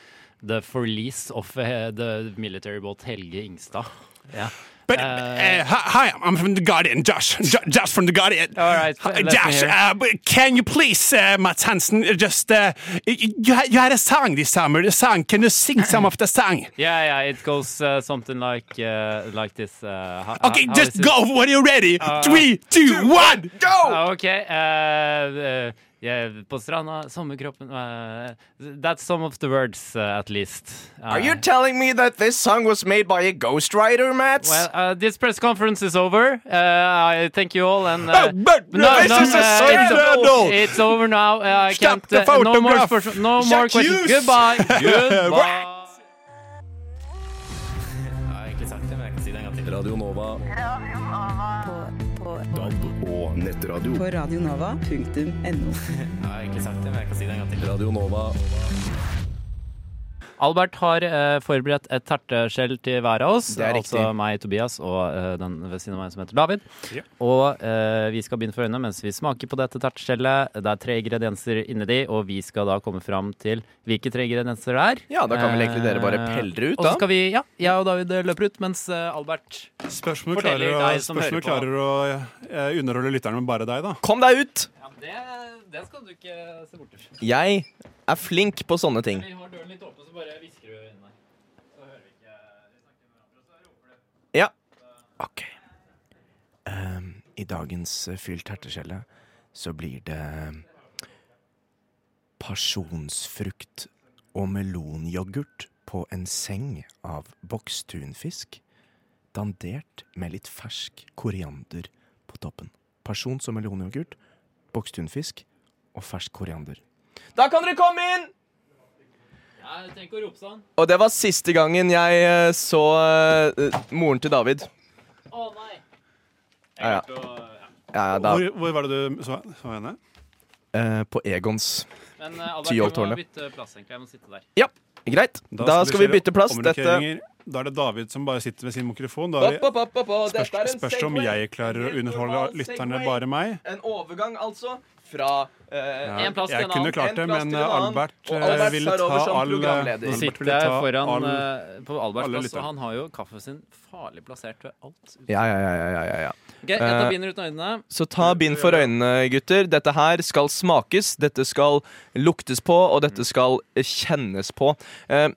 Speaker 1: The Forlease of eh, the Military Boat Helge Ingstad. Ja.
Speaker 2: But,
Speaker 1: Eh.
Speaker 2: uh, hi, hi, I'm from the Guardian, Josh. J- Josh from the Guardian.
Speaker 1: All right,
Speaker 2: Hi,
Speaker 1: let me
Speaker 2: Josh,
Speaker 1: hear.
Speaker 2: uh, but can you please, uh, Mats Hansen, uh, just uh, you, you had- you had a song this summer. The song. Can you sing some of the song?
Speaker 1: (laughs) Yeah, yeah, it goes uh, something like uh, like this. Uh, ho- ho-
Speaker 2: Okay,
Speaker 1: how
Speaker 2: just
Speaker 1: is it?
Speaker 2: go when you're ready.
Speaker 1: Uh,
Speaker 2: Three, two, one, go.
Speaker 1: Ah, ok. eh, eh, yeah, på stranda, sommerkroppen eh, That's some of the words, eh, at least. Eh,
Speaker 5: Are you telling me that this song was made by a ghostwriter, Mats?
Speaker 1: well, uh, this press conference is over. Uh, I thank you all, and uh,
Speaker 2: but Oh, this is a
Speaker 1: uh,
Speaker 2: scandal.
Speaker 1: it's, o- it's over now. Uh, I
Speaker 2: Stop
Speaker 1: can't.
Speaker 2: the
Speaker 1: uh, no more,
Speaker 2: photograph.
Speaker 1: spor- no
Speaker 2: Shut
Speaker 1: more questions.
Speaker 2: you.
Speaker 1: Goodbye.
Speaker 2: (laughs)
Speaker 1: Goodbye.
Speaker 10: på, på, på DAB og nettradio. På radionova.no.
Speaker 1: Albert har eh, forberedt et terteskjell til hver av oss.
Speaker 5: Det er
Speaker 1: altså
Speaker 5: riktig.
Speaker 1: meg, Tobias, og eh, den ved siden av meg som heter David.
Speaker 2: Ja.
Speaker 1: Og eh, vi skal begynne for øynene mens vi smaker på dette terteskjellet. Det er tre ingredienser inni de, og vi skal da komme fram til hvilke tre ingredienser det er.
Speaker 5: Ja, da kan vel egentlig dere bare
Speaker 1: Eh,
Speaker 5: pellre ut,
Speaker 1: Og så
Speaker 5: da.
Speaker 1: skal vi, ja, jeg og David løper ut, mens eh, Albert
Speaker 2: Spørsmålet
Speaker 1: Fortell
Speaker 2: klarer,
Speaker 1: deg
Speaker 2: å-
Speaker 1: som hører
Speaker 2: spørsmålet
Speaker 1: på.
Speaker 2: klarer å eh, underholde lytterne med bare deg, da.
Speaker 5: Kom deg ut!
Speaker 1: Ja, det, skal du ikke se bort fra.
Speaker 5: Jeg er flink på sånne ting.
Speaker 1: Vi har døren litt åpen, så bare hvisker du inni deg. Så hører vi ikke Vi snakker med hverandre, så roper du.
Speaker 5: Ja. OK. Ehm, I dagens eh, fylt herteskjelle så blir det eh, pasjonsfrukt og melonyoghurt på en seng av vokstunfisk, dandert med litt fersk koriander på toppen. Pasjons- og melonyoghurt, vokstunfisk og fersk koriander. Da kan dere komme inn!
Speaker 1: Nei, du trenger ikke å rope sånn.
Speaker 5: Og det var siste gangen jeg eh, så eh, moren til David.
Speaker 1: Å nei!
Speaker 5: Ja, ja.
Speaker 1: klarte å- ja.
Speaker 5: Ja, ja, da,
Speaker 2: Hvor, hvor var det du så, så henne?
Speaker 5: eh, på Egons.
Speaker 1: Men eh, Albert,
Speaker 5: Ti
Speaker 1: du må
Speaker 5: år tårnet.
Speaker 1: bytte plass, egentlig. Jeg må sitte der.
Speaker 5: Greit. Da, skal vi
Speaker 2: se
Speaker 5: bytte plass. Dette
Speaker 2: omrokeringer. Da er det David som bare sitter ved sin mikrofon. Da er
Speaker 5: Opp,
Speaker 2: vi,
Speaker 5: opp, opp, opp, opp.
Speaker 2: spørs,
Speaker 5: Dette er en
Speaker 2: spørs om
Speaker 5: segway.
Speaker 2: jeg klarer å
Speaker 5: Helt
Speaker 2: underholde
Speaker 5: normal
Speaker 2: lytterne
Speaker 5: segway.
Speaker 2: bare meg.
Speaker 5: En overgang, altså, fra eh,
Speaker 2: Ja,
Speaker 1: En plass til
Speaker 2: jeg
Speaker 1: en
Speaker 2: kunne
Speaker 1: annen.
Speaker 2: klart det,
Speaker 5: En plass
Speaker 2: men
Speaker 5: til en
Speaker 2: eh,
Speaker 5: annen.
Speaker 2: Albert
Speaker 5: Og
Speaker 2: eh,
Speaker 5: Albert
Speaker 2: ville
Speaker 5: tar
Speaker 2: ta
Speaker 5: over som
Speaker 2: all
Speaker 5: programleder.
Speaker 1: Nå
Speaker 5: Albert
Speaker 1: sitter
Speaker 2: ville
Speaker 1: jeg
Speaker 2: ta
Speaker 1: foran
Speaker 2: all-
Speaker 1: eh, På Alberts
Speaker 2: alle
Speaker 1: plass, og
Speaker 2: lytterne.
Speaker 1: han har jo kaffen sin farlig plassert ved alt.
Speaker 5: Ja, ja, ja, ja, ja, ja.
Speaker 1: Ok, jeg
Speaker 5: Eh,
Speaker 1: tar binder uten øynene.
Speaker 5: Så ta bind for øynene, gutter. Dette her skal smakes, dette skal luktes på, og dette skal eh, kjennes på. Eh,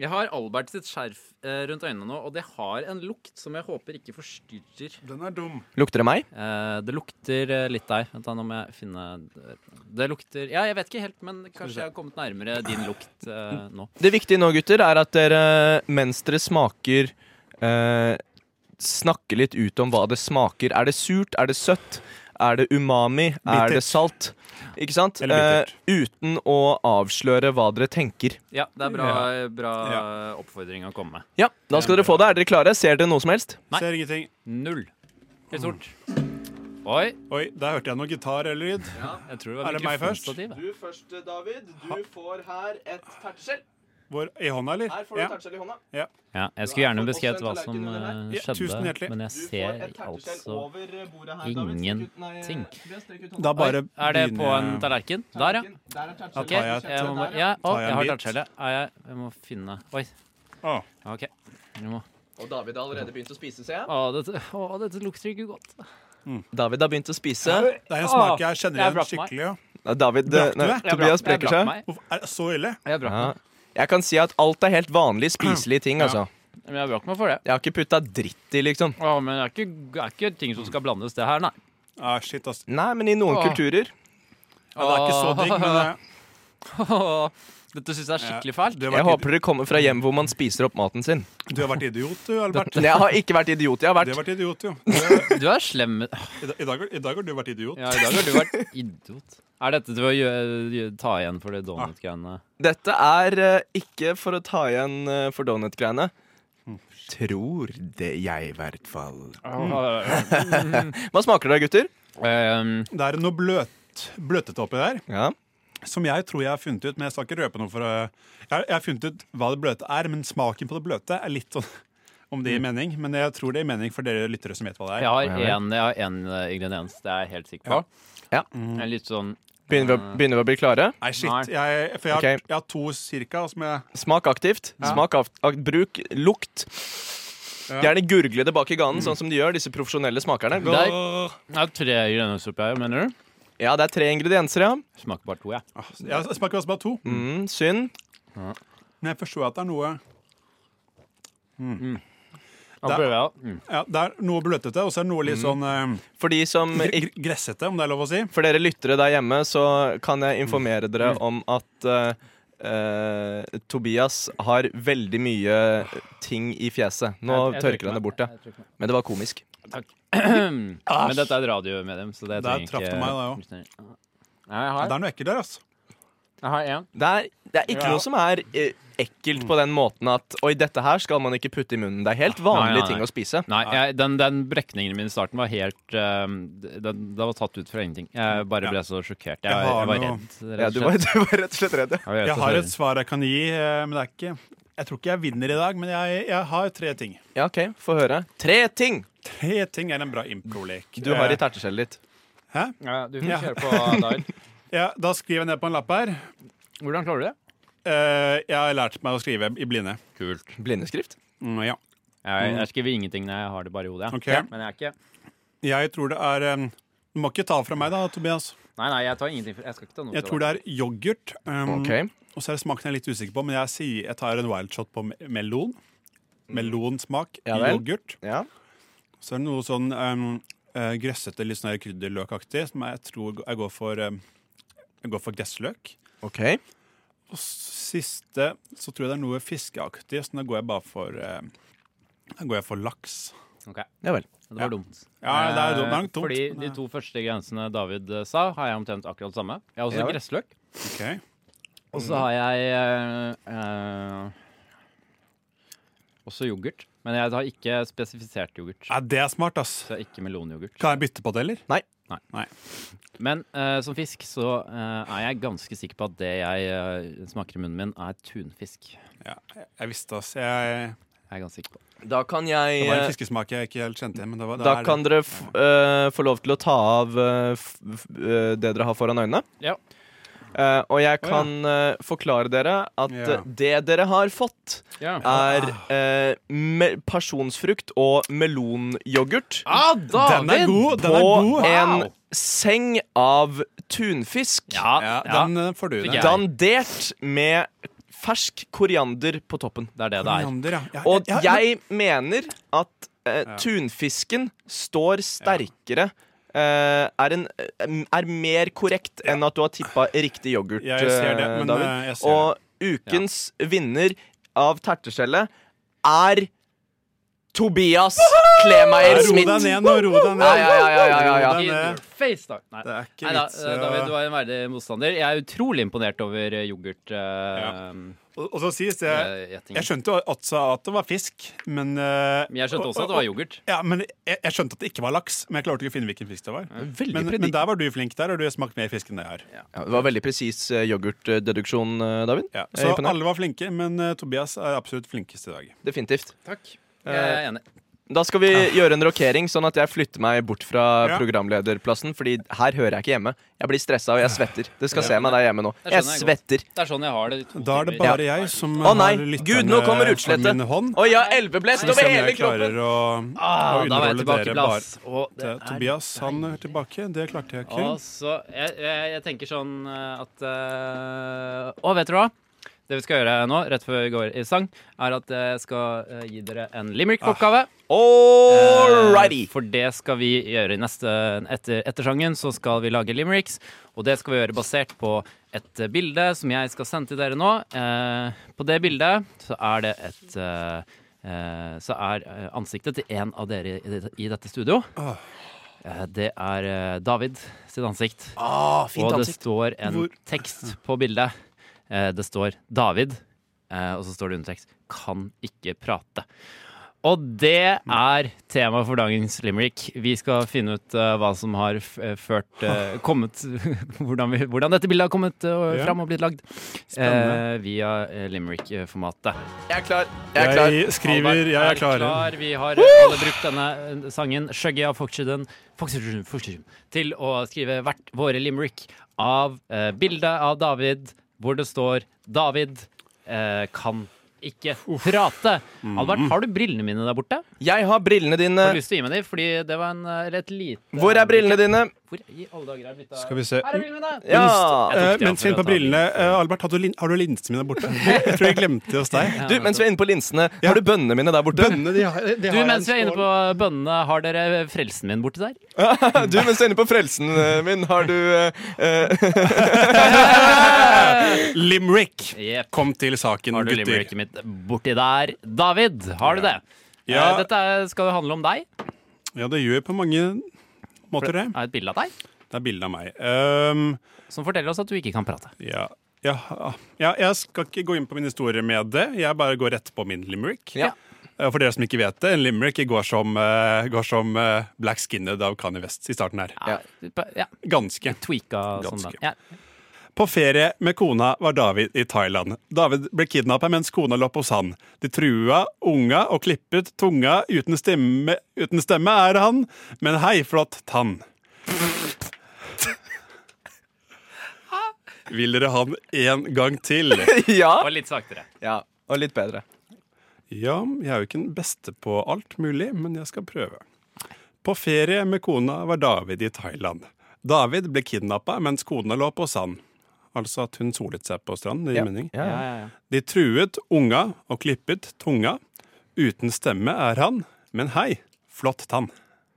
Speaker 1: Jeg har Albert sitt skjerf eh, rundt øynene nå, og det har en lukt som jeg håper ikke forstyrrer.
Speaker 2: Den er dum.
Speaker 5: lukter det meg?
Speaker 1: Eh, det lukter eh, litt der. Vent da, nå må jeg finne eh, Det lukter Ja, jeg vet ikke helt, men kanskje jeg har kommet nærmere din lukt eh, nå.
Speaker 5: Det viktige nå, gutter, er at dere mens dere smaker eh, Snakker litt ut om hva det smaker. Er det surt? Er det søtt? Er det umami? Er
Speaker 2: Bittert.
Speaker 5: det salt? Ikke sant? Eh,
Speaker 2: Eller bittert.
Speaker 5: uten å avsløre hva dere tenker.
Speaker 1: Ja, det er bra, bra oppfordring å komme med.
Speaker 5: Ja, Da skal dere få det. Er dere klare? Ser dere noe som helst?
Speaker 1: Nei.
Speaker 2: Ser ingenting.
Speaker 1: Null.
Speaker 2: Mm.
Speaker 1: Helt sort. Oi.
Speaker 2: Oi, der hørte jeg noe gitarlyd.
Speaker 1: Jeg tror det
Speaker 2: Er
Speaker 1: var
Speaker 2: det meg først?
Speaker 1: mikrofonstativ.
Speaker 5: Du først, David. Du får her et tertskjell.
Speaker 2: Hvor, I hånda, eller? Ja.
Speaker 5: tertskjell i hånda.
Speaker 1: Ja, jeg skulle gjerne beskrevet hva som eh,
Speaker 2: Ja, tusen
Speaker 1: skjedde,
Speaker 2: hjertelig.
Speaker 1: men jeg ser altså
Speaker 5: bordet
Speaker 1: ingenting.
Speaker 2: Da bare
Speaker 1: Oi, Er det på en
Speaker 2: begynner jeg-
Speaker 1: tallerken? Der, ja.
Speaker 2: tar
Speaker 1: Ok,
Speaker 2: jeg-
Speaker 1: jeg må bare Ja, å,
Speaker 2: tar jeg
Speaker 1: jeg
Speaker 2: en
Speaker 1: har
Speaker 2: bit?
Speaker 1: tertskjellet. Er jeg Jeg må finne Oi.
Speaker 2: Å.
Speaker 1: OK. Jeg må
Speaker 5: Og David har allerede begynt å spise, ser jeg.
Speaker 1: Å, dette, å, dette lukter ikke godt.
Speaker 5: David har begynt å spise.
Speaker 2: Det er en smak jeg kjenner
Speaker 1: Jeg
Speaker 2: igjen
Speaker 1: brakk meg.
Speaker 2: skikkelig. Ja.
Speaker 5: Ja, David,
Speaker 2: Brakte
Speaker 5: nei,
Speaker 2: du deg?
Speaker 5: Tobias
Speaker 1: Jeg
Speaker 5: brekker
Speaker 1: brakk
Speaker 5: seg.
Speaker 1: meg.
Speaker 2: Hvorfor er det så ille?
Speaker 1: Jeg brakk
Speaker 5: Ja.
Speaker 1: meg.
Speaker 5: Jeg kan si at alt er helt vanlig spiselige ting, altså.
Speaker 1: Men jeg brakk meg for det.
Speaker 5: Jeg har ikke putta dritt i, liksom.
Speaker 1: Å, men det er ikke, det er ikke ting som skal blandes, det her, nei. (laughs)
Speaker 2: Ah, shit, ass.
Speaker 5: Nei, men i noen
Speaker 1: Åh.
Speaker 5: kulturer
Speaker 2: Ja, det er ikke så digg, men eh,
Speaker 1: Å, Dette syns jeg er skikkelig fælt.
Speaker 2: du har,
Speaker 5: Jeg
Speaker 2: vært,
Speaker 5: håper dere kommer fra hjem hvor man spiser opp maten (laughs) sin.
Speaker 2: id- du har vært idiot, du, Albert.
Speaker 5: Men jeg har ikke vært idiot. Jeg har
Speaker 2: Du har
Speaker 5: vært
Speaker 2: vært idiot, jo.
Speaker 1: Du er slem med
Speaker 2: I, da- i, dag, har- I dag har du vært idiot.
Speaker 1: Ja, i dag har du vært idiot. Er dette til å gjø- gjø- ta igjen for de donut-greiene?
Speaker 5: Dette er eh, ikke for å ta igjen eh, for donut-greiene. Tror det jeg, i hvert fall. Hva smaker det, gutter?
Speaker 1: Ehm,
Speaker 2: Det er noe bløt, bløtete oppi der.
Speaker 5: Ja.
Speaker 2: Som jeg tror jeg har funnet ut, men jeg skal ikke røpe noe for å jeg, jeg har funnet ut hva det bløte er, men smaken på det bløte er litt sånn om det gir
Speaker 5: Mm.
Speaker 2: mening. Men jeg tror det gir mening for dere lyttere som vet hva det
Speaker 1: jeg eh,
Speaker 2: er.
Speaker 1: har én ingrediens, det er jeg helt sikker på.
Speaker 5: Ja.
Speaker 1: En litt sånn
Speaker 5: Begynner vi, å- begynner vi å bli klare?
Speaker 2: Nei,
Speaker 1: Nei.
Speaker 2: shit. Jeg, for jeg har, jeg
Speaker 5: Ok.
Speaker 2: har to cirka. og så må jeg,
Speaker 5: Smak aktivt.
Speaker 2: Ja.
Speaker 5: Smak av, ak- bruk lukt.
Speaker 2: Ja.
Speaker 5: Gjerne gurgle det bak i ganen, sånn som de gjør, disse profesjonelle smakerne.
Speaker 1: Det er, det er tre grønnsaker her, mener du?
Speaker 5: Ja, det er tre ingredienser, ja.
Speaker 1: Smaker bare to, jeg. Ja.
Speaker 2: Ah, jeg smaker også bare to.
Speaker 5: Mm, synd.
Speaker 2: Men jeg forstår at det er noe
Speaker 1: Da prøver jeg, da. Mm.
Speaker 2: ja, Det er noe bløtete, og så er det noe
Speaker 5: Mm.
Speaker 2: litt sånn eh,
Speaker 5: For de som
Speaker 2: gr-
Speaker 5: ikke
Speaker 2: gr- gressete, om det er lov å si.
Speaker 5: For dere lyttere der hjemme, så kan jeg informere
Speaker 1: Mm.
Speaker 5: dere om at eh, eh, Tobias har veldig mye ting i fjeset.
Speaker 1: Jeg-
Speaker 5: Nå
Speaker 1: jeg tørker
Speaker 5: tørker han det
Speaker 1: meg.
Speaker 5: bort, ja.
Speaker 1: Jeg trykker meg.
Speaker 5: Men det var komisk.
Speaker 1: Takk. Mm. (clears throat) Men dette er et radiomedium, så
Speaker 2: Der
Speaker 1: det trenger
Speaker 2: traff
Speaker 1: ikke
Speaker 2: det meg,
Speaker 1: Nei, jeg
Speaker 2: Det
Speaker 1: har,
Speaker 2: er noe ekkelt der, altså.
Speaker 1: jeg har en.
Speaker 5: Det er, det er ikke
Speaker 2: Ja.
Speaker 5: noe som er eh, ekkelt på den måten at Oi, dette her skal man ikke putte i munnen. Det er helt vanlige
Speaker 1: nei, nei.
Speaker 5: ting å spise.
Speaker 1: Nei, jeg, den, den brekningen min i starten var helt ehm, Den, den var tatt ut fra ingenting. Jeg bare ble så sjokkert.
Speaker 2: Jeg
Speaker 1: Jeg, jeg,
Speaker 2: har
Speaker 1: var
Speaker 2: noe-
Speaker 1: redd. rett
Speaker 5: Ja,
Speaker 1: og
Speaker 5: du,
Speaker 1: slett.
Speaker 5: var, (laughs) du var rett og slett redd. ja.
Speaker 1: Jeg var rett
Speaker 2: Jeg
Speaker 1: og
Speaker 2: har
Speaker 1: slett
Speaker 2: et svar jeg kan gi, eh, men det er ikke Jeg tror ikke jeg vinner i dag, men jeg, jeg har tre ting.
Speaker 5: Ja, OK, få høre. Tre ting
Speaker 2: Tre ting er en bra impro-lek.
Speaker 5: du har
Speaker 2: Eh,
Speaker 5: i terteskjellet ditt.
Speaker 1: redd. Ja, du får
Speaker 2: Ja.
Speaker 1: kjøre på,
Speaker 2: (laughs)
Speaker 1: Dahl.
Speaker 2: ja, da skriver jeg ned på en lapp her.
Speaker 1: Hvordan klarer du det?
Speaker 2: Eh, jeg har lært meg å skrive i blinde.
Speaker 1: Kult.
Speaker 5: Blindeskrift.
Speaker 2: Mm, ja.
Speaker 1: Jeg, jeg skriver ingenting når jeg har det bare i hodet. jeg.
Speaker 2: Ok.
Speaker 1: Men jeg er ikke
Speaker 2: Jeg tror det er eh, Du må ikke ta fra meg, da, Tobias.
Speaker 1: Nei, nei, jeg tar ingenting. for- Jeg skal ikke ta noe
Speaker 2: Jeg tror det er yoghurt. eh,
Speaker 1: Mm.
Speaker 5: OK.
Speaker 2: Og så er det smaken jeg er litt usikker på, men jeg, sier, jeg tar en wildshot på me- melon. Melonsmak,
Speaker 5: Mm. Ja vel.
Speaker 2: yoghurt.
Speaker 5: Ja.
Speaker 2: Så er det noe sånn ehm, eh, grøssete, litt sånn her krydderløkaktig, som jeg tror jeg går for ehm, Jeg går for gressløk.
Speaker 5: OK.
Speaker 2: Og s- siste så tror jeg det er noe fiskeaktig, så da går jeg bare for ehm, Da går jeg for laks.
Speaker 1: Ok.
Speaker 5: Ja vel.
Speaker 1: Det var dumt.
Speaker 2: Ja, det er dumt- det er nok
Speaker 1: Eh,
Speaker 2: dumt,
Speaker 1: Fordi
Speaker 2: men,
Speaker 1: de
Speaker 2: eh.
Speaker 1: to første grensene David eh, sa, har jeg omtrent akkurat samme. Jeg har også
Speaker 5: Ja vel.
Speaker 1: gressløk.
Speaker 2: Ok.
Speaker 1: Og
Speaker 2: Mm.
Speaker 1: så har jeg eh, eh, også yoghurt. Men jeg har ikke spesifisert yoghurt.
Speaker 2: Ja, det er smart, ass.
Speaker 1: Så jeg har ikke melonyoghurt.
Speaker 2: Kan jeg bytte på det, eller?
Speaker 1: Men eh, som fisk så eh, er jeg ganske sikker på at det jeg eh, smaker i munnen min, er tunfisk.
Speaker 2: Ja, jeg- jeg visste, ass. Jeg,
Speaker 1: Jeg er ganske sikker på.
Speaker 5: Da kan jeg
Speaker 2: det var
Speaker 5: eh,
Speaker 2: en fiskesmak jeg ikke helt kjente igjen, men det var det
Speaker 5: Da
Speaker 2: er
Speaker 5: kan
Speaker 2: det.
Speaker 5: dere f eh, få lov til å ta av eh, f f eh, det dere har foran øynene.
Speaker 1: Ja.
Speaker 5: Eh, og
Speaker 2: Å, ja.
Speaker 5: jeg kan eh, forklare dere at
Speaker 2: Ja.
Speaker 5: eh, det dere har fått,
Speaker 1: Ja.
Speaker 5: er eh, me pasjonsfrukt og melonyoghurt
Speaker 1: Ah,
Speaker 2: Den er god! Den
Speaker 5: på
Speaker 2: er god.
Speaker 5: en seng av tunfisk.
Speaker 1: Ja, ja,
Speaker 2: Ja, den eh, får du.
Speaker 1: Fikk
Speaker 2: den.
Speaker 1: jeg.
Speaker 5: Dandert med fersk koriander på toppen.
Speaker 1: det er det det er.
Speaker 2: Koriander, ja. Ja,
Speaker 5: Og
Speaker 2: ja, ja.
Speaker 5: jeg mener at eh, tunfisken står sterkere eh, er, en, er mer korrekt enn at du har tippa riktig yoghurt,
Speaker 2: Ja, jeg ser det,
Speaker 5: eh,
Speaker 2: men,
Speaker 5: David.
Speaker 2: eh, jeg ser
Speaker 5: og ukens vinner av terteskjellet er Tobias Klemeier
Speaker 2: Ro deg
Speaker 5: Smith.
Speaker 2: ned nå, ro deg ned.
Speaker 5: Ja, ja, ja, ja, ja, ja.
Speaker 2: Ro
Speaker 1: In
Speaker 2: deg
Speaker 1: your
Speaker 2: ned.
Speaker 1: face, da. Nei.
Speaker 2: eh, Det er ikke
Speaker 1: Neida,
Speaker 2: vits,
Speaker 1: eh,
Speaker 2: ja.
Speaker 1: David, du er en verdig motstander. Jeg er utrolig imponert over eh, yoghurt. eh,
Speaker 2: Og, og så sies det
Speaker 1: eh, gjettingen.
Speaker 2: Jeg skjønte jo at, sa at det var fisk, men eh,
Speaker 1: Men jeg skjønte
Speaker 2: og-
Speaker 1: også at det
Speaker 2: og-
Speaker 1: var yoghurt.
Speaker 2: Ja, men jeg, jeg skjønte at det ikke var laks, men jeg klarte ikke å finne hvilken fisk det var.
Speaker 5: Veldig
Speaker 2: Men,
Speaker 5: predik-
Speaker 2: men der var du flink der, og du har smakt mer fisk enn jeg har.
Speaker 5: Ja, det var veldig presis eh, yoghurtdeduksjon, eh, David.
Speaker 2: Ja.
Speaker 5: Jeg er
Speaker 2: Så
Speaker 5: imponert.
Speaker 2: alle var flinke, men eh, Tobias er absolutt flinkest i dag.
Speaker 5: Definitivt.
Speaker 1: Takk.
Speaker 2: Eh,
Speaker 1: Jeg er enig.
Speaker 5: Da skal vi gjøre en rokering, sånn at jeg flytter meg bort fra
Speaker 2: Ah. Ja.
Speaker 5: programlederplassen. Fordi her hører jeg ikke hjemme. Jeg blir stressa og jeg svetter. Du skal se meg der hjemme nå.
Speaker 1: Det skjønner
Speaker 5: Jeg
Speaker 1: jeg
Speaker 5: svetter.
Speaker 1: Det er sånn jeg har det. i to
Speaker 2: Da er det
Speaker 1: timer.
Speaker 2: bare jeg som
Speaker 5: Å nei,
Speaker 2: har lytterne
Speaker 5: gud, nå kommer utslettet.
Speaker 2: fra min hånd.
Speaker 5: Oi, jeg har elveblest
Speaker 2: Så
Speaker 5: over
Speaker 2: ser
Speaker 5: hele
Speaker 2: jeg
Speaker 5: kroppen!
Speaker 2: klarer å, å
Speaker 1: Ah, da var jeg
Speaker 2: underholde
Speaker 1: tilbake
Speaker 2: dere
Speaker 1: til
Speaker 2: bare.
Speaker 1: plass. Og det er
Speaker 2: Tobias han er tilbake, det klarte jeg ikke.
Speaker 1: Og så, jeg, jeg, jeg tenker sånn eh, at eh, Å, vet dere hva? Det vi skal gjøre nå, rett før vi går i sang, er at jeg skal eh, gi dere en limerick-oppgave.
Speaker 5: Alrighty.
Speaker 1: Eh, For det skal vi gjøre i neste etter, etter sangen. Så skal vi lage limericks, og det skal vi gjøre basert på et eh, bilde som jeg skal sende til dere nå. Eh, på det bildet så er det et eh, eh, Så er eh, ansiktet til en av dere i, dette- i dette studio. Eh, det er eh, David sitt ansikt.
Speaker 5: Ah, fint
Speaker 1: og det
Speaker 5: ansikt.
Speaker 1: står en
Speaker 2: Hvor-
Speaker 1: tekst på bildet. Eh, det står 'David', eh, og så står det undertekst 'Kan ikke prate'. Og det er tema for dagens limerick. Vi skal finne ut eh, hva som har f eh,
Speaker 2: (laughs)
Speaker 1: ført eh, kommet (laughs) hvordan, vi, hvordan dette bildet har kommet eh,
Speaker 2: Ja.
Speaker 1: fram og blitt lagd
Speaker 2: Spennende.
Speaker 1: eh, via eh, limerick-formatet.
Speaker 5: Jeg er klar.
Speaker 2: Jeg skriver Jeg er klar.
Speaker 1: Vi har alle brukt denne eh, sangen, 'Skjøgget av Foxhuden', Foxhuden, Foxhuden, til å skrive hvert våre limerick av eh, bildet av David, hvor det står 'David eh, kan ikke prate'.
Speaker 2: Mhm.
Speaker 1: Albert, har du brillene mine der borte?
Speaker 5: Jeg har brillene dine.
Speaker 2: Eh.
Speaker 1: Har du lyst til å gi meg dem? Fordi det var en, eh, et lite
Speaker 5: Hvor er brillene dine?
Speaker 1: Hvor i alle dager er bytta
Speaker 2: Skal vi se.
Speaker 1: Her er brillene mine! Jeg
Speaker 5: Ja.
Speaker 1: tok
Speaker 2: Eh,
Speaker 1: det
Speaker 2: mens
Speaker 1: for
Speaker 2: vi er
Speaker 1: å
Speaker 2: på
Speaker 1: ta
Speaker 2: brillene,
Speaker 1: litt.
Speaker 2: eh, Albert, har du, lin- har du linsene mine der borte? (laughs) Jeg tror jeg glemte det hos deg.
Speaker 5: Du, mens vi er inne på linsene, har du bønnene mine der borte?
Speaker 2: Bønnene, de har,
Speaker 1: Du, mens vi er inne på bønnene, har dere frelsen min borti der?
Speaker 5: (laughs) Du, mens du er inne på frelsen eh, min, har du eh, eh,
Speaker 2: Limerick.
Speaker 1: Jepp.
Speaker 2: Kom til saken,
Speaker 1: Har du
Speaker 2: gutter.
Speaker 1: limericket mitt borti der? David, har du det?
Speaker 2: Ja.
Speaker 1: Eh, Dette skal jo handle om deg.
Speaker 2: Ja, det gjør på mange måter det.
Speaker 1: Det er et bilde av deg
Speaker 2: Det er bilde av meg. Ehm,
Speaker 1: som forteller oss at du ikke kan prate.
Speaker 2: ja. Ja, ja, jeg skal ikke gå inn på mine historier med det. Jeg bare går rett på min limerick.
Speaker 5: Ja.
Speaker 2: Eh, For dere som ikke vet det, en limerick går som, eh, går som eh, Black Skinned av Kanye West i starten her.
Speaker 1: Ja, ja
Speaker 2: Ganske.
Speaker 1: Tweaka sånn.
Speaker 2: Ganske.
Speaker 1: Da. Ja.
Speaker 2: På ferie med kona var David i Thailand. David ble kidnappa mens kona lå hos han. De trua unga og klippet tunga. Uten stemme, uten stemme er han, men hei, flott tann. Vil dere ha den en gang til?
Speaker 5: ja.
Speaker 2: Ah.
Speaker 1: Og litt saktere.
Speaker 5: ja. Og litt bedre.
Speaker 2: Ja, jeg er jo ikke den beste på alt mulig, men jeg skal prøve. På ferie med kona var David i Thailand. David ble kidnappa mens kona lå på sand. Altså at hun solet seg på stranden, i mening.
Speaker 5: Ja, ja.
Speaker 2: De truet unga og klippet tunga. Uten stemme er han, men hei, flott tann.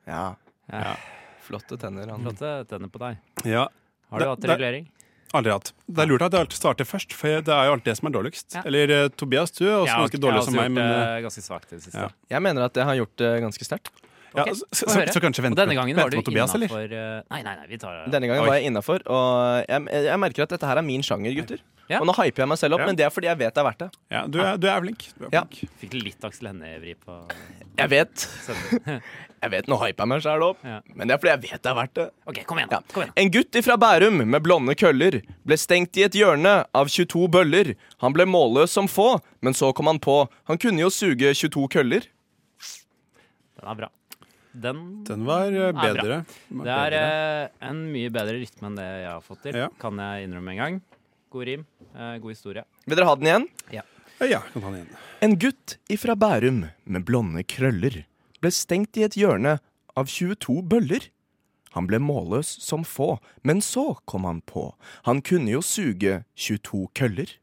Speaker 5: ja.
Speaker 1: Ja.
Speaker 5: Flotte tenner. Han.
Speaker 1: Flotte tenner på deg.
Speaker 2: Ja,
Speaker 1: Har du
Speaker 2: Det-
Speaker 1: hatt
Speaker 2: det-
Speaker 1: regulering?
Speaker 2: aldri hatt. Det er lurt at jeg alltid starter først, for det er jo alltid det som er dårligst.
Speaker 1: Ja.
Speaker 2: Eller eh, Tobias, du er også
Speaker 1: Jeg har-
Speaker 2: ganske dårlig som
Speaker 1: Jeg
Speaker 2: meg, men
Speaker 1: har også gjort
Speaker 2: eh,
Speaker 1: det ganske svakt i det siste.
Speaker 2: ja.
Speaker 5: Jeg mener at jeg har gjort det ganske sterkt.
Speaker 2: ja,
Speaker 1: Ok,
Speaker 2: så, så,
Speaker 1: få
Speaker 2: så,
Speaker 1: høre.
Speaker 2: kanskje
Speaker 1: Og
Speaker 2: vente,
Speaker 1: denne gangen
Speaker 2: vente
Speaker 1: var du
Speaker 2: på Tobias, eller?
Speaker 1: innafor Nei, nei, nei, vi tar
Speaker 5: Denne gangen
Speaker 2: Oi.
Speaker 5: var jeg innafor, og jeg, jeg merker at dette her er min sjanger, gutter.
Speaker 1: Ja.
Speaker 5: Og nå hyper jeg meg selv opp,
Speaker 2: Ja.
Speaker 5: men det er fordi jeg vet det er verdt det.
Speaker 2: Ja, du er, du er flink. Du er
Speaker 5: Ja.
Speaker 2: flink.
Speaker 1: Fikk litt Aksel Hennie-vri på
Speaker 5: Jeg vet.
Speaker 1: sendingen.
Speaker 5: Jeg vet, nå hyper jeg meg selv opp,
Speaker 1: Ja.
Speaker 5: men det er fordi jeg vet det er verdt det.
Speaker 1: (laughs) OK, kom igjen.
Speaker 5: Ja.
Speaker 1: da, Kom igjen.
Speaker 5: En gutt ifra Bærum med blonde køller ble stengt i et hjørne av 22 bøller. Han ble målløs som få, men så kom han på. Han kunne jo suge 22 køller.
Speaker 1: Den er bra. Den
Speaker 2: Den var eh,
Speaker 1: bra.
Speaker 2: bedre. Den var
Speaker 1: Det er
Speaker 2: bedre.
Speaker 1: eh, en mye bedre rytme enn det jeg har fått til,
Speaker 2: Ja.
Speaker 1: kan jeg innrømme en gang. God rim, eh, god historie.
Speaker 5: Vil dere ha den igjen?
Speaker 2: Ja, kan ta den igjen.
Speaker 5: En gutt ifra Bærum med blonde krøller ble stengt i et hjørne av 22 bøller. Han ble målløs som få, men så kom han på. Han kunne jo suge 22 køller.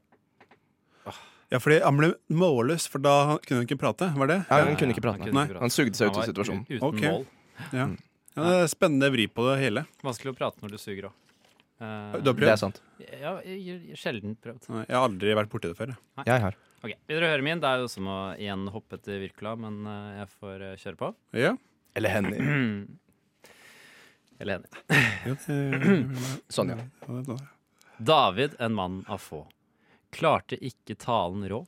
Speaker 2: Ja, fordi han ble målløs, for da kunne han ikke prate. Var det?
Speaker 5: Ja, han kunne ikke prate.
Speaker 1: Han
Speaker 2: Nei.
Speaker 1: prate.
Speaker 5: Han sugde seg ut
Speaker 1: Han
Speaker 5: av
Speaker 1: var
Speaker 5: situasjonen.
Speaker 1: u- Uten
Speaker 2: Ok.
Speaker 1: mål.
Speaker 2: Ja. Mm. Ja, det er spennende vri på det hele.
Speaker 1: Vanskelig å prate når du suger òg.
Speaker 2: Du har
Speaker 5: Det er
Speaker 2: prøvd?
Speaker 5: sant.
Speaker 1: ja, jeg- jeg- sjelden prøvd.
Speaker 2: Nei, Jeg har aldri vært borti det før. jeg.
Speaker 5: Jeg har.
Speaker 1: Ok, Vil dere høre min? Det er jo som å igjen hoppe etter Wirkola, men eh, jeg får eh, kjøre på.
Speaker 2: Ja.
Speaker 5: Eller henne.
Speaker 1: Eller enig.
Speaker 2: Ja, det-
Speaker 5: Sånn, ja.
Speaker 2: ja, det-
Speaker 1: David, en mann av få, klarte ikke talen rå.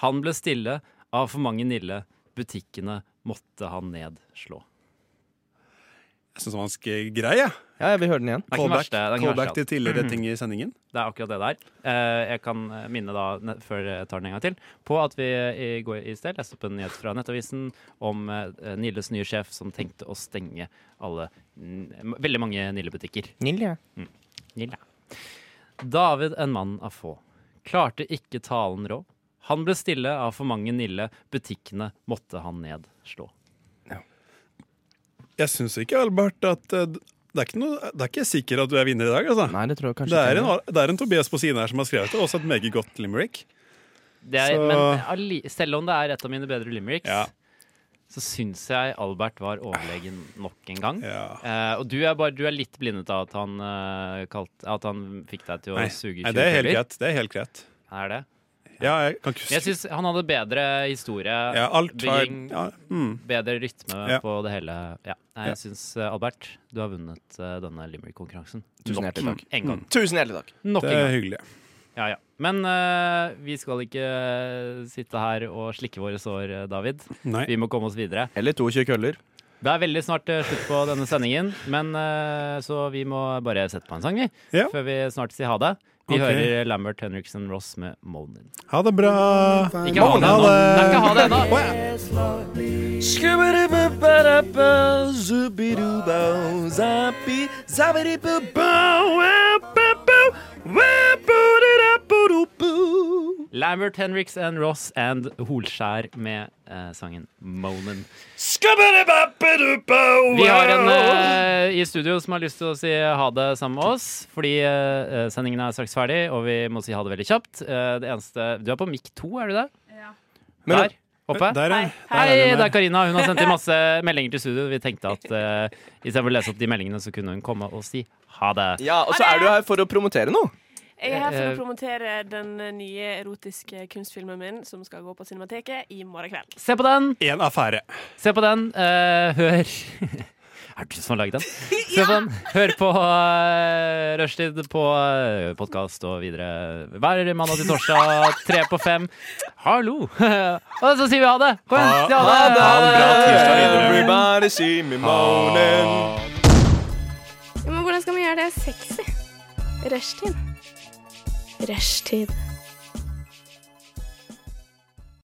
Speaker 1: Han ble stille av for mange nille. Butikkene måtte han nedslå.
Speaker 2: Jeg syns han var ganske grei. jeg.
Speaker 5: Ja, jeg vil høre den igjen.
Speaker 1: Det er ikke den verste. Det er ikke Mm. den verste.
Speaker 2: Callback til tidligere ting i sendingen.
Speaker 1: Det er akkurat det der. Eh, Jeg kan minne da, ne- før jeg tar den en gang til, på at vi eh, i går i sted leste opp en nyhet fra Nettavisen om eh, Nilles nye sjef som tenkte å stenge alle n- Veldig mange Nille-butikker.
Speaker 5: Nilje.
Speaker 1: Nille. David, en mann av få, klarte ikke talen rå. Han ble stille av for mange Nille. Butikkene måtte han nedslå.
Speaker 2: Jeg syns ikke, Albert, at eh, det er ikke, noe, det er ikke sikkert at du er vinner i dag. altså.
Speaker 5: Nei, det tror jeg
Speaker 2: Det
Speaker 5: kanskje
Speaker 2: er,
Speaker 5: ikke.
Speaker 2: en, det er en Tobias på siden her som har skrevet det, også et meget godt limerick.
Speaker 1: Det er,
Speaker 2: Så-
Speaker 1: men alli, selv om det er et av mine bedre limericks,
Speaker 2: Ja.
Speaker 1: så syns jeg Albert var overlegen nok en gang.
Speaker 2: Ja.
Speaker 1: Eh, og du er, bare, du er litt blindet av at han, eh, kalt, at han fikk deg til å
Speaker 2: Nei,
Speaker 1: suge
Speaker 2: nei,
Speaker 1: 20
Speaker 2: det er helt
Speaker 1: kuler.
Speaker 2: greit. Det er helt greit.
Speaker 1: Er det?
Speaker 2: Ja, jeg kan ikke
Speaker 1: Men Jeg
Speaker 2: huske
Speaker 1: syns han hadde bedre historie,
Speaker 2: ja, Alt var
Speaker 1: bygging,
Speaker 2: ja, mm.
Speaker 1: bedre rytme
Speaker 2: Ja.
Speaker 1: på det hele. Ja. Nei,
Speaker 2: Ja.
Speaker 1: Jeg syns, eh, Albert, du har vunnet eh, denne Limerick-konkurransen. Nok
Speaker 5: Tusen hjertelig takk.
Speaker 1: En gang.
Speaker 5: Tusen hjertelig takk.
Speaker 1: Nok
Speaker 2: Mm. Det
Speaker 1: en
Speaker 2: er
Speaker 1: gang.
Speaker 2: hyggelig.
Speaker 1: Ja, ja. Men eh, vi skal ikke eh, sitte her og slikke våre sår, eh, David.
Speaker 2: Nei.
Speaker 1: Vi må komme oss videre.
Speaker 3: Eller 22 køller.
Speaker 1: Det er veldig snart eh, slutt på denne sendingen, men eh, så vi må bare sette på en sang, vi.
Speaker 2: Ja.
Speaker 1: Før vi snart sier ha det. Vi
Speaker 2: Ok.
Speaker 1: hører eh, Lambert Henriksen Ross med Molnin.
Speaker 2: Ha det bra.
Speaker 1: Ikke ha det
Speaker 2: Ha
Speaker 1: ennå!
Speaker 2: det.
Speaker 1: Nei, ikke ha det ennå!
Speaker 2: Å, ja.
Speaker 1: Lambert Henriks and Ross and Holskjær med eh, sangen Monin. Vi har en eh, i studio som har lyst til å si ha det sammen med oss, fordi eh, sendingen er straks ferdig, og vi må si ha det veldig kjapt. Eh, det eneste Du er på mic 2, er du det?
Speaker 11: Ja.
Speaker 3: Men-
Speaker 1: Der oppe?
Speaker 2: Der, ja. Der er
Speaker 1: Hei,
Speaker 2: den
Speaker 1: det
Speaker 2: der.
Speaker 1: er Karina. Hun har sendt inn masse meldinger til studio. Vi tenkte at eh, i stedet for å lese opp de meldingene, så kunne hun komme og si ha det.
Speaker 3: Ja, og så er du her for å promotere noe.
Speaker 11: Jeg er her for
Speaker 1: Eh,
Speaker 11: å promotere den nye erotiske kunstfilmen min som skal gå på Cinemateket i morgen kveld.
Speaker 1: Se på den!
Speaker 2: En affære.
Speaker 1: Se på den. eh, hør (laughs) Er det du som har (laughs) laget den? Se på den. Hør på uh, Rushtid på uh, podkast og videre hver mandag til torsdag tre på fem. Hallo! (laughs) og så sier vi ha det! Kom igjen, si ha det!
Speaker 2: Ha en bra tirsdag videre.
Speaker 3: Everybody see me moaning.
Speaker 4: Men hvordan skal man gjøre det sexy? Rushtid. Rushtid.